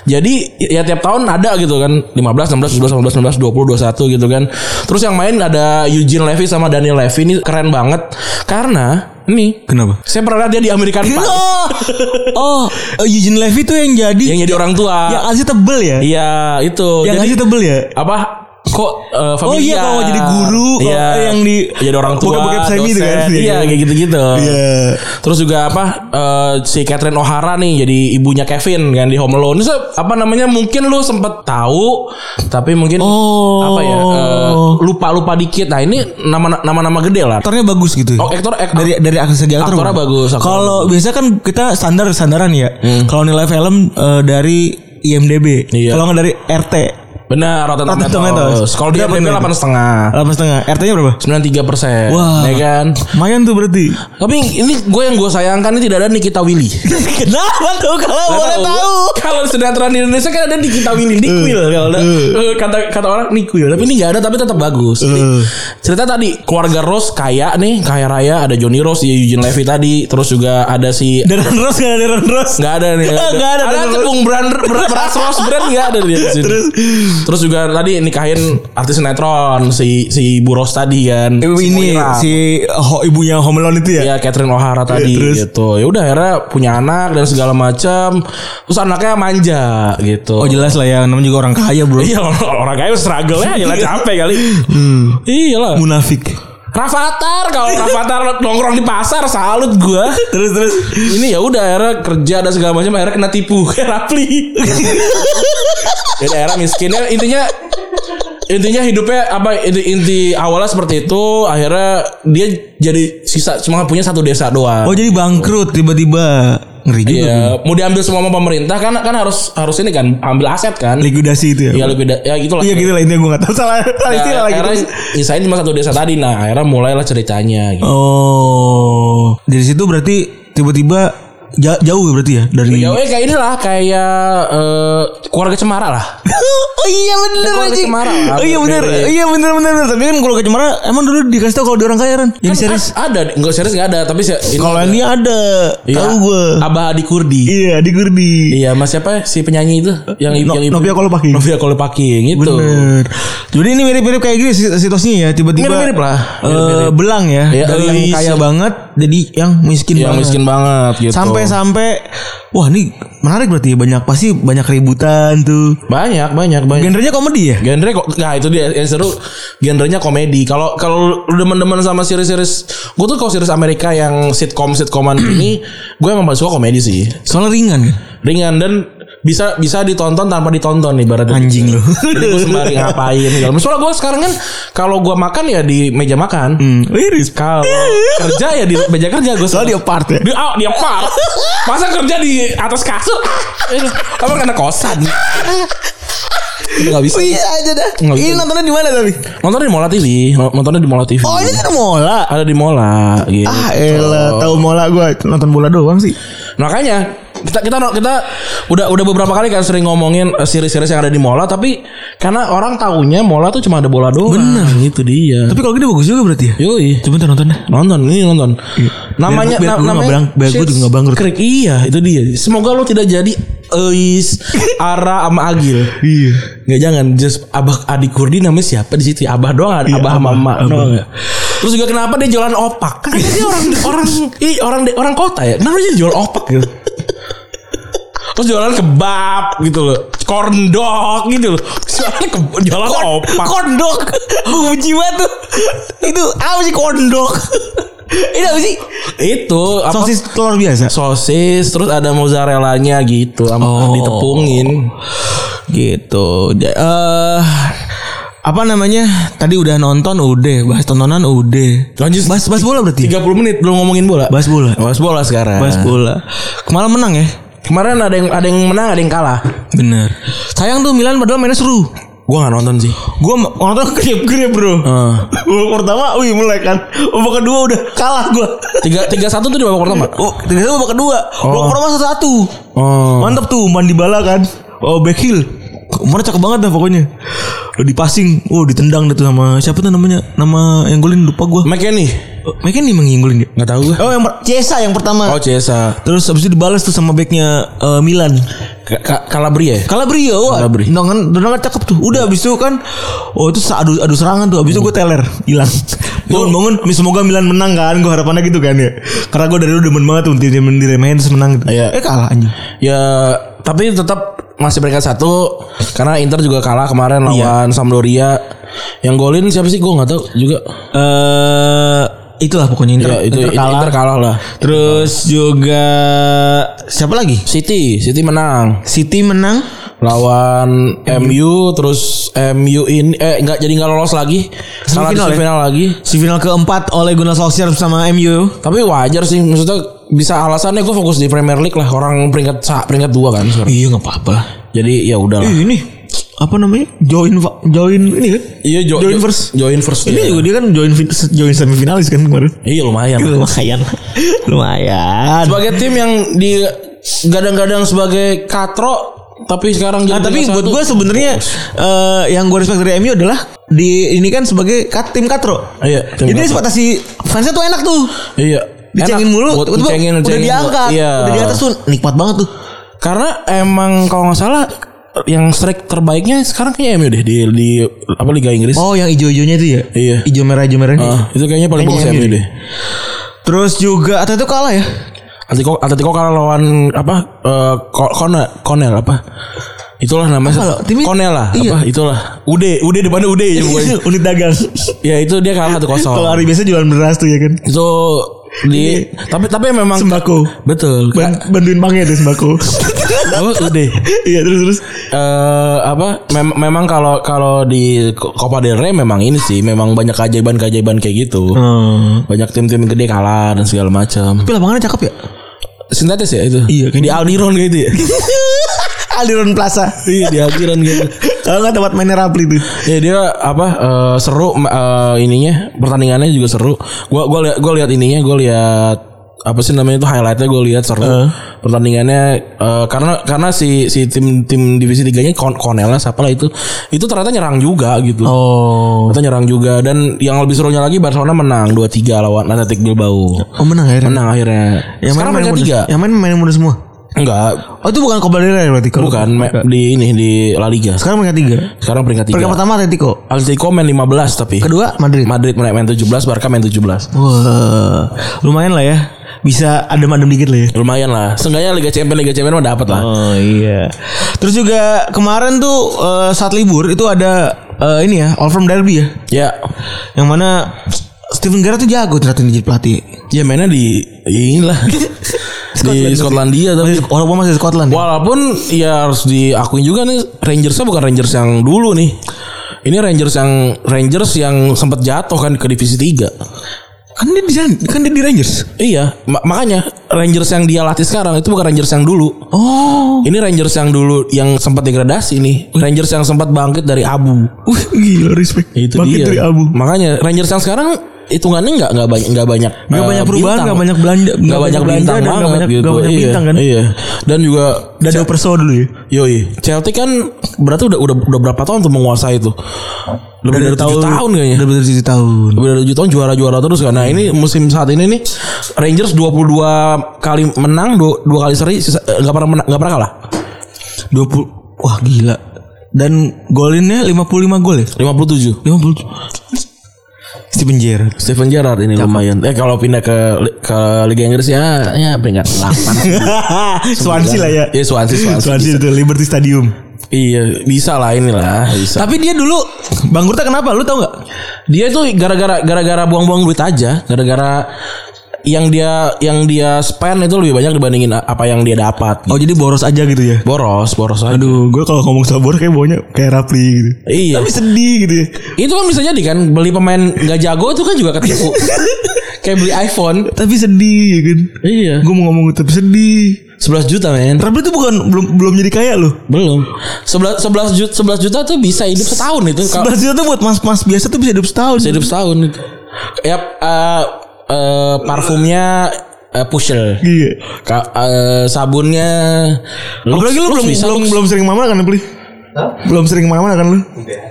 Speaker 2: Jadi ya tiap tahun ada gitu kan. 15, 16, 17, 18, 19, 20, 21 gitu kan. Terus yang main ada Eugene Levy sama Daniel Levy ini keren banget karena ini
Speaker 3: Kenapa?
Speaker 2: saya pernah lihat dia di American Pie
Speaker 3: Oh, oh, Eugene Levy tuh yang jadi
Speaker 2: yang jadi orang tua.
Speaker 3: yang kasih tebel ya?
Speaker 2: Iya, itu.
Speaker 3: yang
Speaker 2: Jadi-
Speaker 3: kasih tebel ya?
Speaker 2: apa kok eh, familiar.
Speaker 3: Oh iya, kalau jadi guru, kalau
Speaker 2: Iya.
Speaker 3: yang di-
Speaker 2: jadi orang tua
Speaker 3: bokep-bokep semi
Speaker 2: dosen.
Speaker 3: itu kan?
Speaker 2: iya kayak gitu gitu
Speaker 3: Iya.
Speaker 2: terus juga apa eh, si Catherine O'Hara nih jadi ibunya Kevin kan di Home Alone Terus, apa namanya mungkin lu sempet tahu tapi mungkin
Speaker 3: Oh.
Speaker 2: apa ya
Speaker 3: eh,
Speaker 2: lupa lupa dikit nah ini nama nama nama gede lah
Speaker 3: Aktornya bagus gitu. ya?
Speaker 2: oh aktor ak-
Speaker 3: dari dari aktor segi aktor
Speaker 2: Aktornya
Speaker 3: mah.
Speaker 2: bagus, aktornya
Speaker 3: Kalau biasa kan kita standar sandaran ya. Kalau nilai film eh, dari IMDb,
Speaker 2: Iya.
Speaker 3: kalau nggak dari RT
Speaker 2: benar Rotten
Speaker 3: Rotten
Speaker 2: Tomatoes
Speaker 3: Tomatoes.
Speaker 2: kalau dia berapa
Speaker 3: Berapa nilai?
Speaker 2: delapan setengah
Speaker 3: 8,5 setengah. RT-nya berapa?
Speaker 2: sembilan tiga persen
Speaker 3: Wah.
Speaker 2: ya kan
Speaker 3: Lumayan tuh berarti.
Speaker 2: tapi ini gue yang gue sayangkan ini tidak ada Nikita Willy
Speaker 3: Kenapa tuh kalau
Speaker 2: Nggak
Speaker 3: boleh tahu? Eh,
Speaker 2: Kalau sinetron di Indonesia kan ada di kita Willy Nikwil kalau ada- eh, kata kata orang Nikwil tapi ini nggak ada tapi tetap bagus.
Speaker 3: Eh.
Speaker 2: Jadi, cerita tadi keluarga Rose kaya nih kaya raya ada Johnny Rose, ya Eugene Levy tadi terus juga ada si
Speaker 3: Darren Ross nggak ada Darren Ross.
Speaker 2: nggak ada nih.
Speaker 3: Ah, nggak ada.
Speaker 2: Ada tepung brand ber- beras Rose brand nggak ada di sini. Terus, juga tadi nikahin artis sinetron si si Bu Rose tadi kan.
Speaker 3: Ibu
Speaker 2: Si
Speaker 3: Eh, ini
Speaker 2: Moira.
Speaker 3: si ho, ibunya Home Alone itu
Speaker 2: Iya
Speaker 3: ya.
Speaker 2: Catherine O'Hara tadi
Speaker 3: terus?
Speaker 2: gitu. Ya udah akhirnya punya anak dan segala macam. Terus anaknya manja gitu.
Speaker 3: Oh jelas lah ya, namanya juga orang kaya bro.
Speaker 2: Iya orang- orang kaya struggle ya lah capek kali. Iya lah.
Speaker 3: Munafik.
Speaker 2: Rafathar kalau Rafathar nongkrong di pasar salut gua.
Speaker 3: Terus terus.
Speaker 2: Ini ya udah akhirnya kerja dan segala macam akhirnya kena tipu kayak Rapli. ya daerah miskinnya intinya intinya hidupnya apa inti, inti awalnya seperti itu akhirnya dia jadi sisa cuma punya satu desa doang.
Speaker 3: Oh jadi gitu. bangkrut tiba-tiba ngeri juga. bro.
Speaker 2: Iya, mau diambil semua sama pemerintah kan kan harus harus ini kan ambil aset kan.
Speaker 3: Likuidasi itu ya.
Speaker 2: Ya lebih ya gitulah.
Speaker 3: Iya gitu lah intinya gue gak tahu salah
Speaker 2: Nah,
Speaker 3: salah istilah lagi.
Speaker 2: akhirnya nyisain cuma satu desa tadi nah akhirnya mulailah ceritanya gitu.
Speaker 3: Oh dari situ berarti tiba-tiba Ja- jauh berarti ya dari
Speaker 2: Jauhnya kayak inilah kayak eh, keluarga cemara lah.
Speaker 3: oh iya bener
Speaker 2: Keluarga
Speaker 3: anjing.
Speaker 2: Cemara lah.
Speaker 3: Oh iya bener.
Speaker 2: Beda-beda.
Speaker 3: Iya bener bener. bener. Tapi kan keluarga Cemara emang dulu dikasih tau kalau dia orang kaya kan.
Speaker 2: Kan
Speaker 3: Jadi serius.
Speaker 2: a- ada, enggak serius enggak ada, tapi se- ini-
Speaker 3: Kalau yang dia ada.
Speaker 2: Iya.
Speaker 3: Tahu gue.
Speaker 2: Abah Adi Kurdi.
Speaker 3: Iya di Gurdi.
Speaker 2: Iya, Mas siapa si penyanyi itu yang
Speaker 3: No-
Speaker 2: yang
Speaker 3: Novia Kolopaking.
Speaker 2: Novia Kolopaking itu.
Speaker 3: Bener. Jadi ini mirip-mirip kayak gini si- situasinya ya. Tiba-tiba.
Speaker 2: Mirip-mirip lah.
Speaker 3: eh,
Speaker 2: Mirip-mirip.
Speaker 3: belang ya.
Speaker 2: Iya,
Speaker 3: dari
Speaker 2: dari
Speaker 3: yang kaya
Speaker 2: si-
Speaker 3: banget. Jadi yang miskin
Speaker 2: Yang
Speaker 3: banget.
Speaker 2: miskin banget gitu.
Speaker 3: Sampai-sampai. Wah ini menarik berarti. Banyak pasti banyak ributan tuh.
Speaker 2: banyak banyak banyak.
Speaker 3: Genrenya komedi ya?
Speaker 2: Genre kok nah itu dia yang seru genrenya komedi. Kalau kalau lu demen-demen sama series-series gue tuh kalau series Amerika yang sitcom sitcoman ini gue emang paling suka komedi sih.
Speaker 3: Soalnya ringan kan?
Speaker 2: Ringan dan bisa bisa ditonton tanpa ditonton ibaratnya. gitu.
Speaker 3: Anjing lu.
Speaker 2: Jadi gue sembari ngapain segala macam. Soalnya gue sekarang kan kalau gue makan ya di meja makan.
Speaker 3: Iris.
Speaker 2: Kalau kerja ya di meja kerja gue
Speaker 3: Hmm. Soalnya dia part ya.
Speaker 2: Dia ah, dia par. Masa kerja di atas kasur? Apa karena kosan? Ini gak bisa.
Speaker 3: Bisa Iya aja dah.
Speaker 2: Nggak
Speaker 3: Ini
Speaker 2: bisa.
Speaker 3: nontonnya di mana tapi?
Speaker 2: Nontonnya di Mola TV, nontonnya di Mola TV.
Speaker 3: Oh, ini kan mola.
Speaker 2: Ada di Mola gitu.
Speaker 3: Ah, elah, tahu mola gua nonton bola doang sih.
Speaker 2: Makanya kita kita kita udah udah beberapa kali kan sering ngomongin eh, series-series yang ada di Mola tapi karena orang taunya Mola tuh cuma ada bola doang. Benar, itu dia.
Speaker 3: Tapi kalau gini bagus juga berarti ya.
Speaker 2: Yoi.
Speaker 3: Coba ntar nonton deh.
Speaker 2: Nonton ini nonton. Namanya
Speaker 3: Biar- biar
Speaker 2: na-
Speaker 3: gua nggak
Speaker 2: namanya
Speaker 3: bangkrut, biar gua juga nggak bangkrut.
Speaker 2: Krik. Iya, itu dia. Semoga lu tidak jadi Eis, Ara sama Agil.
Speaker 3: Iya.
Speaker 2: Nggak jangan just Abah Adi Kurdi namanya siapa di situ? ya? Abah doang, ada Abah sama Emak doang ya. Terus juga kenapa dia jualan opak? Kan dia orang orang ih, orang orang kota ya. Kenapa dia jual opak gitu? Terus jualan kebab gitu loh. Corn dog gitu loh. Jualan, ke- jualan opak.
Speaker 3: Kondok. Uji banget tuh. Itu apa sih kondok? Ini apa sih?
Speaker 2: Itu apa?
Speaker 3: Sosis telur biasa.
Speaker 2: sosis terus ada mozzarellanya gitu sama
Speaker 3: Oh.
Speaker 2: ditepungin
Speaker 3: Gitu. Ja- Eh apa namanya? Tadi udah nonton udah, bahas tontonan udah.
Speaker 2: lanjut
Speaker 3: Bahas bahas bola berarti.
Speaker 2: 30 menit belum ngomongin bola
Speaker 3: Bahas bola. Nah.
Speaker 2: bahas bola sekarang
Speaker 3: Bahas bola. Kemarin menang ya?
Speaker 2: kemarin ada yang ada yang menang ada yang kalah
Speaker 3: Bener. Sayang tuh Milan padahal mainnya seru.
Speaker 2: gua nggak nonton sih
Speaker 3: Gue nonton grip-grip bro.
Speaker 2: Heeh.
Speaker 3: Babak pertama wih melek kan. Babak kedua udah kalah gue.
Speaker 2: tiga tiga satu tuh di babak pertama
Speaker 3: Oh, ternyata babak kedua. Babak pertama satu satu.
Speaker 2: oh
Speaker 3: Mantap tuh mandi bala kan. Oh back heel. Kemarin cakep banget dah pokoknya. Udah di passing, oh ditendang deh tuh sama siapa tuh namanya? Nama yang golin lupa gue.
Speaker 2: McKenny
Speaker 3: Mereka nih menginggulin dia.
Speaker 2: nggak tahu gua
Speaker 3: Oh yang per- Chiesa yang pertama.
Speaker 2: oh Cesa
Speaker 3: Terus habis itu dibalas tuh sama backnya eh, Milan.
Speaker 2: Calabria ya
Speaker 3: Calabria wah. Nah,
Speaker 2: Calabria.
Speaker 3: Nongan, nongan cakep tuh. Udah abis itu kan oh itu adu adu serangan tuh. Abis itu gue teler hilang. Bangun bangun mi- semoga Milan menang kan. Gue harapannya gitu kan ya. Karena gue dari dulu demen banget tuh tim tim diremehin terus menang gitu.
Speaker 2: Iya.
Speaker 3: Eh kalah anjing.
Speaker 2: ya tapi tetap masih peringkat satu karena Inter juga kalah
Speaker 3: Iya.
Speaker 2: kemarin lawan Sampdoria yang golin siapa sih gua nggak tahu juga
Speaker 3: Eh itulah pokoknya Inter,
Speaker 2: ya, itu
Speaker 3: Inter
Speaker 2: Inter
Speaker 3: kalah.
Speaker 2: Inter kalah lah
Speaker 3: Terus juga siapa lagi?
Speaker 2: City City menang
Speaker 3: City menang.
Speaker 2: lawan MU terus MU ini eh nggak jadi nggak lolos lagi salah di
Speaker 3: Semifinal ya?
Speaker 2: final lagi
Speaker 3: Si final keempat oleh Gunnar Solskjaer sama MU.
Speaker 2: tapi wajar sih maksudnya bisa alasannya gue fokus di Premier League lah orang peringkat sa- peringkat dua kan sekarang.
Speaker 3: Iya nggak apa-apa.
Speaker 2: jadi ya udah lah
Speaker 3: Ih, ini apa namanya? Join va- join ini kan?
Speaker 2: iya jo-
Speaker 3: Join
Speaker 2: jo-
Speaker 3: first.
Speaker 2: join first iya.
Speaker 3: Ini juga dia kan join join semifinalis kan kemarin.
Speaker 2: iya lumayan
Speaker 3: Lumayan. Lumayan.
Speaker 2: sebagai tim yang di gadang-gadang sebagai katro tapi sekarang jadi
Speaker 3: Nah, tapi
Speaker 2: peringkat
Speaker 3: buat
Speaker 2: satu.
Speaker 3: gue sebenarnya eh, yang gue respect dari MU adalah di ini kan sebagai kat, tim katro.
Speaker 2: iya tim
Speaker 3: Jadi
Speaker 2: katro.
Speaker 3: sepatasi fansnya tuh enak tuh.
Speaker 2: iya
Speaker 3: Dicengin
Speaker 2: Enak.
Speaker 3: mulu,
Speaker 2: Buat
Speaker 3: tiba-tiba
Speaker 2: dicengin,
Speaker 3: udah
Speaker 2: dicengin.
Speaker 3: diangkat,
Speaker 2: iya.
Speaker 3: udah di atas tuh nikmat banget tuh.
Speaker 2: Karena emang kalau nggak salah yang strike terbaiknya sekarang kayaknya MU deh di, di apa Liga Inggris.
Speaker 3: Oh, yang ijo-ijonya itu ya?
Speaker 2: Iya.
Speaker 3: Ijo merah ijo merah.
Speaker 2: Ah, itu kayaknya paling bagus
Speaker 3: Kayaknya
Speaker 2: MU
Speaker 3: MU
Speaker 2: deh.
Speaker 3: Terus juga atau itu kalah ya?
Speaker 2: Atletico Atletico kalah lawan apa? eh, Ko- Kone Konel apa? Itulah
Speaker 3: Apa lo?
Speaker 2: namanya.
Speaker 3: Timnya-
Speaker 2: Konel lah,
Speaker 3: Iya.
Speaker 2: apa itulah. Ude, Ude depannya Ude ya pokoknya.
Speaker 3: Unit dagang.
Speaker 2: ya itu dia kalah 1-0.
Speaker 3: Kalau hari biasa jualan beras tuh ya kan.
Speaker 2: itu di tapi tapi memang
Speaker 3: Sembako.
Speaker 2: betul. Kak.
Speaker 3: Ban- bantuin bangnya tuh sembako.
Speaker 2: Apa Ude?
Speaker 3: Iya terus terus.
Speaker 2: eh apa mem- memang kalau kalau di Copa del Rey memang ini sih memang banyak keajaiban-keajaiban kayak gitu.
Speaker 3: Oh.
Speaker 2: Banyak tim-tim gede kalah dan segala macam.
Speaker 3: Tapi lapangannya cakep ya?
Speaker 2: Sintetis ya itu.
Speaker 3: Iya,
Speaker 2: di Aldiron kayak gitu ya.
Speaker 3: Aliran Plaza.
Speaker 2: iya, di Aldiron gitu.
Speaker 3: Kalau nggak tempat mainnya Rapli tuh.
Speaker 2: Ya dia apa eh, seru eh, ininya pertandingannya juga seru. Gua gua lihat gua lihat ininya, gua lihat apa sih namanya itu highlightnya gue lihat seru pertandingannya eh, karena karena si si tim tim divisi tiganya Kon Konelnya siapa lah itu itu ternyata nyerang juga gitu
Speaker 3: Oh.
Speaker 2: ternyata nyerang juga dan yang lebih serunya lagi Barcelona menang 2-3 lawan Athletic Bilbao
Speaker 3: Oh menang akhirnya.
Speaker 2: menang akhirnya
Speaker 3: Yang mana
Speaker 2: sekarang
Speaker 3: main
Speaker 2: mereka
Speaker 3: muda?
Speaker 2: tiga
Speaker 3: Yang mana main muda semua?
Speaker 2: enggak
Speaker 3: Oh itu bukan Cobalera ya berarti? Kalau-
Speaker 2: bukan me- di ini di La Liga
Speaker 3: Sekarang mereka tiga.
Speaker 2: sekarang peringkat
Speaker 3: Peringkat
Speaker 2: tiga
Speaker 3: pertama Atletico.
Speaker 2: Atletico main 15 tapi
Speaker 3: Kedua Madrid.
Speaker 2: Madrid main main 17 Barca main 17
Speaker 3: Wah, lumayan lah ya. Bisa adem-adem dikit lah ya.
Speaker 2: lumayan lah seenggaknya Liga Champions Liga Champions mah dapat lah
Speaker 3: Oh iya. Terus juga kemarin tuh eh, saat libur itu ada eh, ini ya, All From Derby ya.
Speaker 2: ya
Speaker 3: Yang mana Steven Gerrard tuh jago ternyata jadi pelatih.
Speaker 2: ya mainnya di inilah di Skotlandia tapi
Speaker 3: Masih- Walaupun masih Scotland. Ya?
Speaker 2: Walaupun ya harus diakuin juga nih Rangersnya bukan Rangers yang dulu nih. Ini Rangers yang Rangers yang sempat jatuh kan ke divisi 3.
Speaker 3: Kan dia di kan dia di Rangers.
Speaker 2: Iya, ma- makanya Rangers yang dia latih sekarang itu bukan Rangers yang dulu.
Speaker 3: Oh,
Speaker 2: Ini Rangers yang dulu yang sempat degradasi nih. Rangers yang sempat bangkit dari abu.
Speaker 3: wih gila respect.
Speaker 2: Itu
Speaker 3: Bangkit
Speaker 2: gitu dia.
Speaker 3: dari abu.
Speaker 2: Makanya Rangers yang sekarang hitungannya nggak nggak banyak nggak banyak
Speaker 3: Nggak
Speaker 2: eh,
Speaker 3: banyak perubahan,
Speaker 2: bintang.
Speaker 3: nggak banyak belanja-
Speaker 2: nggak banyak bintang
Speaker 3: dan nggak
Speaker 2: banget
Speaker 3: banyak-
Speaker 2: gitu.
Speaker 3: nggak banyak
Speaker 2: Iya,
Speaker 3: bintang kan.
Speaker 2: Iya. Dan juga
Speaker 3: Dan ada perso dulu ya.
Speaker 2: Yoi, Celtic kan berarti udah udah udah berapa tahun tuh menguasai itu? Lebih dari tujuh tahun kayaknya.
Speaker 3: Udah dari tujuh tahun.
Speaker 2: Lebih dari tujuh tahun juara-juara terus kan. Nah ini musim saat ini nih Rangers 22 kali menang, dua, dua kali seri, sisa- eh, nggak pernah menang, nggak pernah kalah.
Speaker 3: 20 Wah gila. Dan golinnya 55 gol ya?
Speaker 2: 57.
Speaker 3: 50 Steven Gerrard
Speaker 2: Steven Gerrard ini lumayan. Eh kalau pindah ke li- ke Liga Inggris ya ya peringkat 8.
Speaker 3: Swansea lah ya
Speaker 2: Iya Swansea, Swansea.
Speaker 3: Swansea itu Liberty Stadium
Speaker 2: Iya, bisa lah inilah, bisa.
Speaker 3: Tapi dia dulu Bang Gurta kenapa lu tau gak?
Speaker 2: dia tuh gara-gara gara-gara buang-buang duit aja gara-gara yang dia yang dia spend itu lebih banyak dibandingin a- apa yang dia dapat
Speaker 3: Oh jadi boros aja gitu ya
Speaker 2: boros boros aja.
Speaker 3: Aduh gue kalau ngomong sabor kayak baunya kayak Rapli gitu
Speaker 2: iya
Speaker 3: Tapi sedih gitu ya
Speaker 2: itu kan bisa jadi kan beli pemain nggak jago itu kan juga ketipu kayak beli iPhone
Speaker 3: Tapi sedih ya kan
Speaker 2: iya
Speaker 3: Gue mau ngomong tapi sedih
Speaker 2: 11 juta men
Speaker 3: Rapli tuh bukan belum belum jadi kaya loh
Speaker 2: belum 11 11 juta 11 juta tuh bisa hidup setahun itu kalau
Speaker 3: 11 juta tuh buat mas-mas biasa tuh bisa hidup setahun
Speaker 2: bisa hidup setahun itu ya eh, eh, parfumnya eh, Pushel
Speaker 3: Iya
Speaker 2: Ka- eh, sabunnya
Speaker 3: Apalagi lu
Speaker 2: Lux- Lux
Speaker 3: belum,
Speaker 2: bisa,
Speaker 3: belum,
Speaker 2: Lux.
Speaker 3: belum sering mana kan Rapli? Belum sering mana-mana kan lu?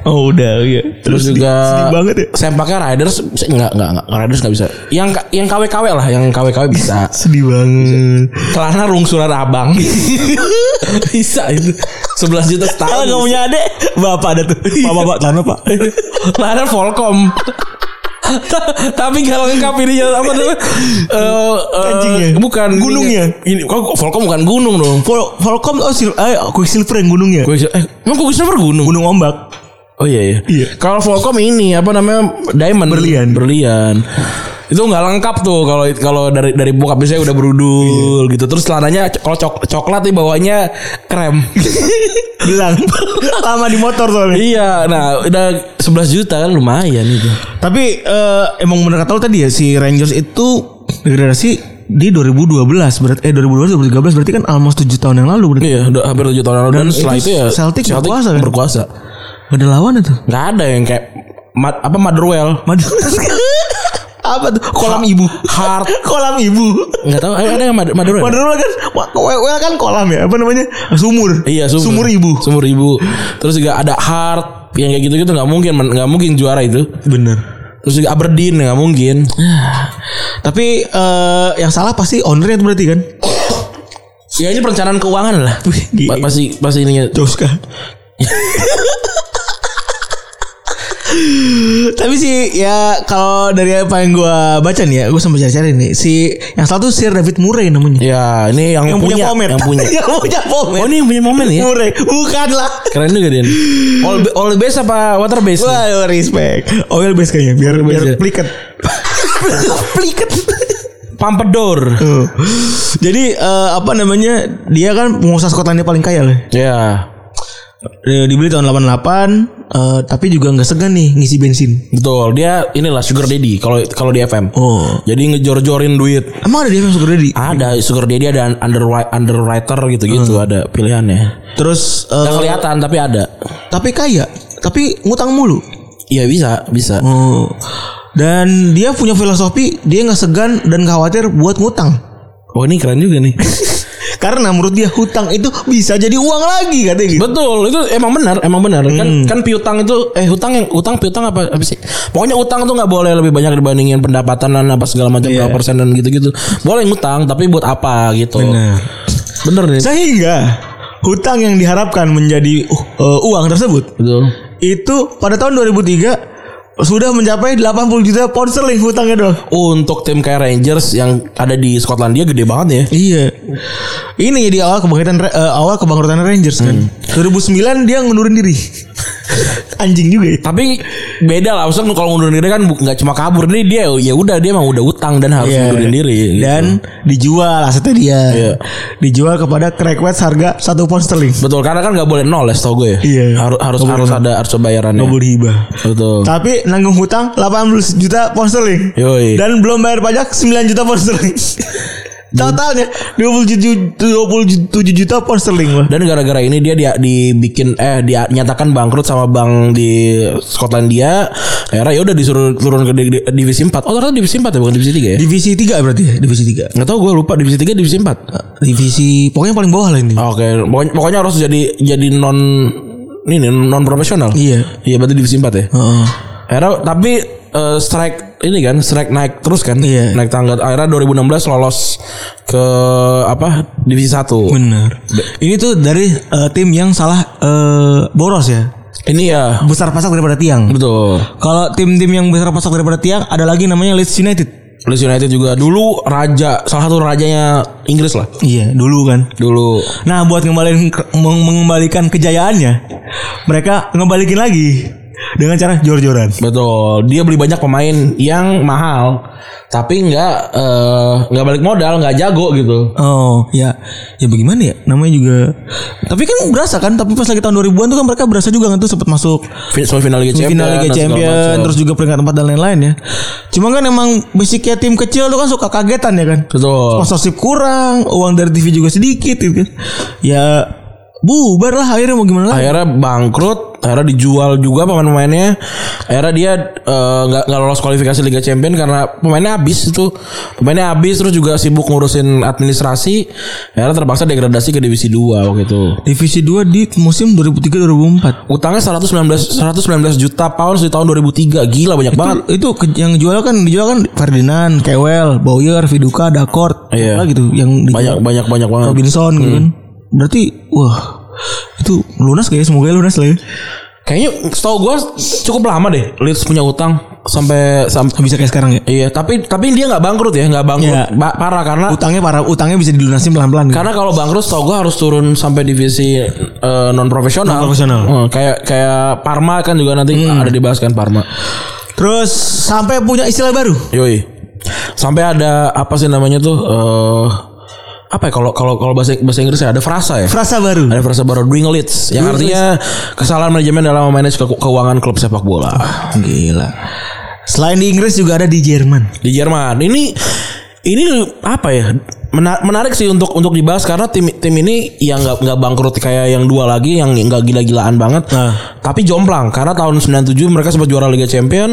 Speaker 3: Oh udah iya
Speaker 2: Terus
Speaker 3: sedih-
Speaker 2: juga
Speaker 3: Sedih banget ya
Speaker 2: Sempaknya Riders enggak enggak enggak Riders enggak bisa. Yang ka- yang KW-KW lah, yang KW-KW bisa.
Speaker 3: Sedih banget
Speaker 2: Celana rungsulan abang. bisa itu. 11 juta setahun.
Speaker 3: Kalau nggak punya adek, bapak ada tuh. Pak, bapak, tanah pak.
Speaker 2: Celana Volcom. Tapi gak lengkap ini ya apa namanya? Eh, eh,
Speaker 3: Kancingnya?
Speaker 2: bukan
Speaker 3: Gunungnya?
Speaker 2: Ini kok Volcom bukan gunung dong.
Speaker 3: Vol Volcom oh sil eh, Quicksilver yang gunungnya.
Speaker 2: Gue eh emang kok Wisnu bergunung?
Speaker 3: Gunung ombak.
Speaker 2: Oh iya iya.
Speaker 3: Iya.
Speaker 2: Kalau Volcom ini apa namanya diamond
Speaker 3: Berlian.
Speaker 2: berlian itu nggak lengkap tuh kalau kalau dari dari bokap biasanya udah berudul gitu terus celananya co- kalau cok- coklat nih bawahnya krem
Speaker 3: Bilang lama di motor soalnya.
Speaker 2: iya nah udah 11 juta kan lumayan itu
Speaker 3: Tapi eh, emang bener kata lo tadi ya si Rangers itu degradasi di 2012 berarti eh 2012 2013 berarti kan almost 7 tahun yang lalu berarti.
Speaker 2: iya udah hampir 7 tahun lalu dan,
Speaker 3: Dan
Speaker 2: setelah
Speaker 3: Iya, itu
Speaker 2: itu ya
Speaker 3: Celtic berkuasa kan?
Speaker 2: berkuasa
Speaker 3: Gak ada lawan itu.
Speaker 2: nggak ada yang kayak Ma- apa Motherwell
Speaker 3: Madrid. Apa tuh? Kolam ibu.
Speaker 2: Heart
Speaker 3: Kolam ibu.
Speaker 2: nggak tahu eh, ada yang Mother- Motherwell
Speaker 3: Padahal kan wa- wa- wa- kan kolam ya, apa namanya? Sumur.
Speaker 2: Iya sumur.
Speaker 3: Sumur ibu.
Speaker 2: Sumur ibu. Terus juga ada Hart yang kayak gitu-gitu nggak mungkin men- nggak mungkin juara itu.
Speaker 3: Bener.
Speaker 2: Terus juga Aberdeen nggak mungkin.
Speaker 3: Tapi eh, yang salah pasti ownernya tuh berarti kan?
Speaker 2: Ya ini perencanaan keuangan lah.
Speaker 3: Wih, gila.
Speaker 2: Pa- Pasti pasti ini
Speaker 3: Joska. Tapi sih ya kalau dari apa yang gue baca nih ya, gue sempat cari-cari nih si yang satu Sir David Murray namanya.
Speaker 2: Ya ini yang, punya,
Speaker 3: pomer.
Speaker 2: yang punya.
Speaker 3: yang punya pomer.
Speaker 2: Oh ini yang punya momen ya.
Speaker 3: Murray, bukan lah.
Speaker 2: Keren juga dia. nih. All, all base apa water base? nih?
Speaker 3: Wah, respect. Oil Oh, iya, base kayaknya biar
Speaker 2: Oil
Speaker 3: biar
Speaker 2: base ya.
Speaker 3: pliket. pliket.
Speaker 2: Pompadour.
Speaker 3: Tuh. Jadi eh, apa namanya? Dia kan pengusaha Skotlandia paling kaya lah.
Speaker 2: Ya
Speaker 3: Eh, Dibeli tahun 88 eh, tapi juga nggak segan nih ngisi bensin.
Speaker 2: betul. Dia inilah sugar daddy kalau kalau di FM.
Speaker 3: Oh.
Speaker 2: Jadi ngejor-jorin duit.
Speaker 3: Emang ada dia yang sugar daddy?
Speaker 2: Ada sugar daddy ada underwri- underwriter gitu-gitu ada pilihannya.
Speaker 3: Terus
Speaker 2: Gak
Speaker 3: eh,
Speaker 2: kelihatan tapi ada.
Speaker 3: tapi kaya, tapi ngutang mulu.
Speaker 2: Iya bisa, bisa.
Speaker 3: Oh. Dan dia punya filosofi dia nggak segan dan nggak khawatir buat ngutang.
Speaker 2: Oh ini keren juga nih.
Speaker 3: Karena menurut dia hutang itu bisa jadi uang lagi katanya gitu. Hmm.
Speaker 2: Betul, itu emang benar, emang benar. Kan kan piutang itu eh hutang yang hutang piutang apa apa sih? Pokoknya utang tuh nggak boleh lebih banyak dibandingin pendapatan dan apa segala macam
Speaker 3: Iya.
Speaker 2: berapa persen dan gitu-gitu. Boleh ngutang tapi buat apa gitu. Bener nih.
Speaker 3: Sehingga hutang yang diharapkan menjadi uh, uang tersebut
Speaker 2: Betul.
Speaker 3: itu pada tahun 2003 sudah mencapai 80 juta pound sterling hutangnya doang.
Speaker 2: Untuk tim kayak Rangers yang ada di Skotlandia gede banget ya.
Speaker 3: Iya. Ini jadi awal kebangkitan eh, awal kebangkrutan Rangers kan. 2009 dia ngundurin diri. Anjing juga ya.
Speaker 2: Tapi beda lah, maksudnya kalau ngundurin diri kan bu- nggak cuma kabur nih dia ya udah dia emang udah utang dan harus
Speaker 3: Iya.
Speaker 2: ngundurin diri. gitu.
Speaker 3: Dan dijual asetnya dia. Dijual kepada Craig Watts harga 1 pound sterling.
Speaker 2: betul karena kan nggak boleh nol ya, setahu gue. ya.
Speaker 3: Iya.
Speaker 2: Harus harus harus ada harus ada bayarannya.
Speaker 3: Nggak boleh hibah.
Speaker 2: Betul.
Speaker 3: Tapi nanggung hutang 80 juta pound sterling.
Speaker 2: Yoi.
Speaker 3: Dan belum bayar pajak 9 juta pound sterling. Totalnya 27 27 juta pound sterling lah.
Speaker 2: Dan gara-gara ini dia dia dibikin eh dinyatakan bangkrut sama bank di Skotlandia. Akhirnya ya udah disuruh turun ke di- di- divisi 4. Oh ternyata divisi 4 ya bukan divisi 3 ya?
Speaker 3: Divisi 3 berarti ya, divisi 3.
Speaker 2: Nggak tahu gue lupa divisi 3 divisi 4.
Speaker 3: Divisi pokoknya paling bawah lah ini.
Speaker 2: Oke, pokoknya, pokoknya harus jadi jadi non ini nih, non profesional.
Speaker 3: Iya.
Speaker 2: Iya berarti divisi 4 ya.
Speaker 3: Heeh.
Speaker 2: Akhirnya tapi eh, strike ini kan strike naik terus kan
Speaker 3: Iya.
Speaker 2: naik tangga akhirnya 2016 lolos ke apa divisi 1
Speaker 3: Bener. Ini tuh dari eh, tim yang salah eh, boros ya.
Speaker 2: ini ya
Speaker 3: Besar pasak daripada tiang.
Speaker 2: betul
Speaker 3: Kalau tim-tim yang besar pasak daripada tiang ada lagi namanya Leeds United.
Speaker 2: Leeds United juga dulu raja salah satu rajanya Inggris lah
Speaker 3: Iya, dulu kan.
Speaker 2: dulu
Speaker 3: Nah, buat ngembalikan meng- mengembalikan kejayaannya, mereka ngembalikin lagi dengan cara jor-joran.
Speaker 2: betul dia beli banyak pemain yang mahal tapi nggak eh, nggak balik modal nggak jago gitu
Speaker 3: Oh, ya. Ya bagaimana ya? Namanya juga Tapi kan berasa kan, tapi pas lagi tahun 2000-an tuh kan mereka berasa juga kan tuh sempat masuk
Speaker 2: Fin- semifinal Liga Champions
Speaker 3: final Liga
Speaker 2: dan segala
Speaker 3: Champion
Speaker 2: macam.
Speaker 3: terus juga peringkat empat dan lain-lain ya. Cuma kan emang basicnya tim kecil tuh kan suka kagetan ya kan.
Speaker 2: betul
Speaker 3: Sponsorship kurang, uang dari TV juga sedikit gitu kan. Ya bubar lah akhirnya mau gimana lagi.
Speaker 2: akhirnya bangkrut akhirnya dijual juga pemain-pemainnya akhirnya dia eh, nggak nggak lolos kualifikasi Liga Champion karena pemainnya habis itu pemainnya habis terus juga sibuk ngurusin administrasi akhirnya terpaksa degradasi ke divisi 2 waktu itu
Speaker 3: Divisi 2 di musim 2003 2004.
Speaker 2: Utangnya 119 119 juta pounds di tahun 2003. Gila banyak banget.
Speaker 3: Itu ke- yang jual kan dijual kan Ferdinand, Kewell, Bauer, Viduka, Dakort,
Speaker 2: Iya.
Speaker 3: lah gitu
Speaker 2: Banyak
Speaker 3: yang
Speaker 2: Hmm.
Speaker 3: dijual.
Speaker 2: banyak banyak banget.
Speaker 3: Robinson gitu kan. Berarti wah itu lunas kayak semoga lunas lah ya.
Speaker 2: Kayaknya setahu gua cukup lama deh Leeds punya utang sampai sampai
Speaker 3: Bisa kayak sekarang ya.
Speaker 2: Iya, tapi tapi dia nggak bangkrut ya, nggak bangkrut
Speaker 3: Iya.
Speaker 2: Ba- parah karena
Speaker 3: Utangnya para utangnya bisa dilunasin pelan-pelan. gitu.
Speaker 2: karena kalau bangkrut setahu gua harus turun sampai divisi non profesional.
Speaker 3: Non-profesional.
Speaker 2: kayak kayak Parma kan juga nanti ada dibahas kan Parma.
Speaker 3: Terus sampai punya istilah baru.
Speaker 2: Yoi. Sampai ada apa sih namanya tuh eh, apa ya kalau kalau kalau bahasa bahasa Inggris ya ada frasa ya.
Speaker 3: Frasa baru.
Speaker 2: Ada frasa baru doing leads yang artinya kesalahan manajemen dalam memanage ke- keuangan klub sepak bola
Speaker 3: Gila. Selain di Inggris juga ada di Jerman.
Speaker 2: di Jerman. Ini ini apa ya? mena- menarik sih untuk untuk dibahas karena tim tim ini yang nggak nggak bangkrut kayak yang dua lagi yang nggak gila-gilaan banget.
Speaker 3: Nah.
Speaker 2: Tapi jomplang karena tahun 97 mereka sempat juara Liga Champion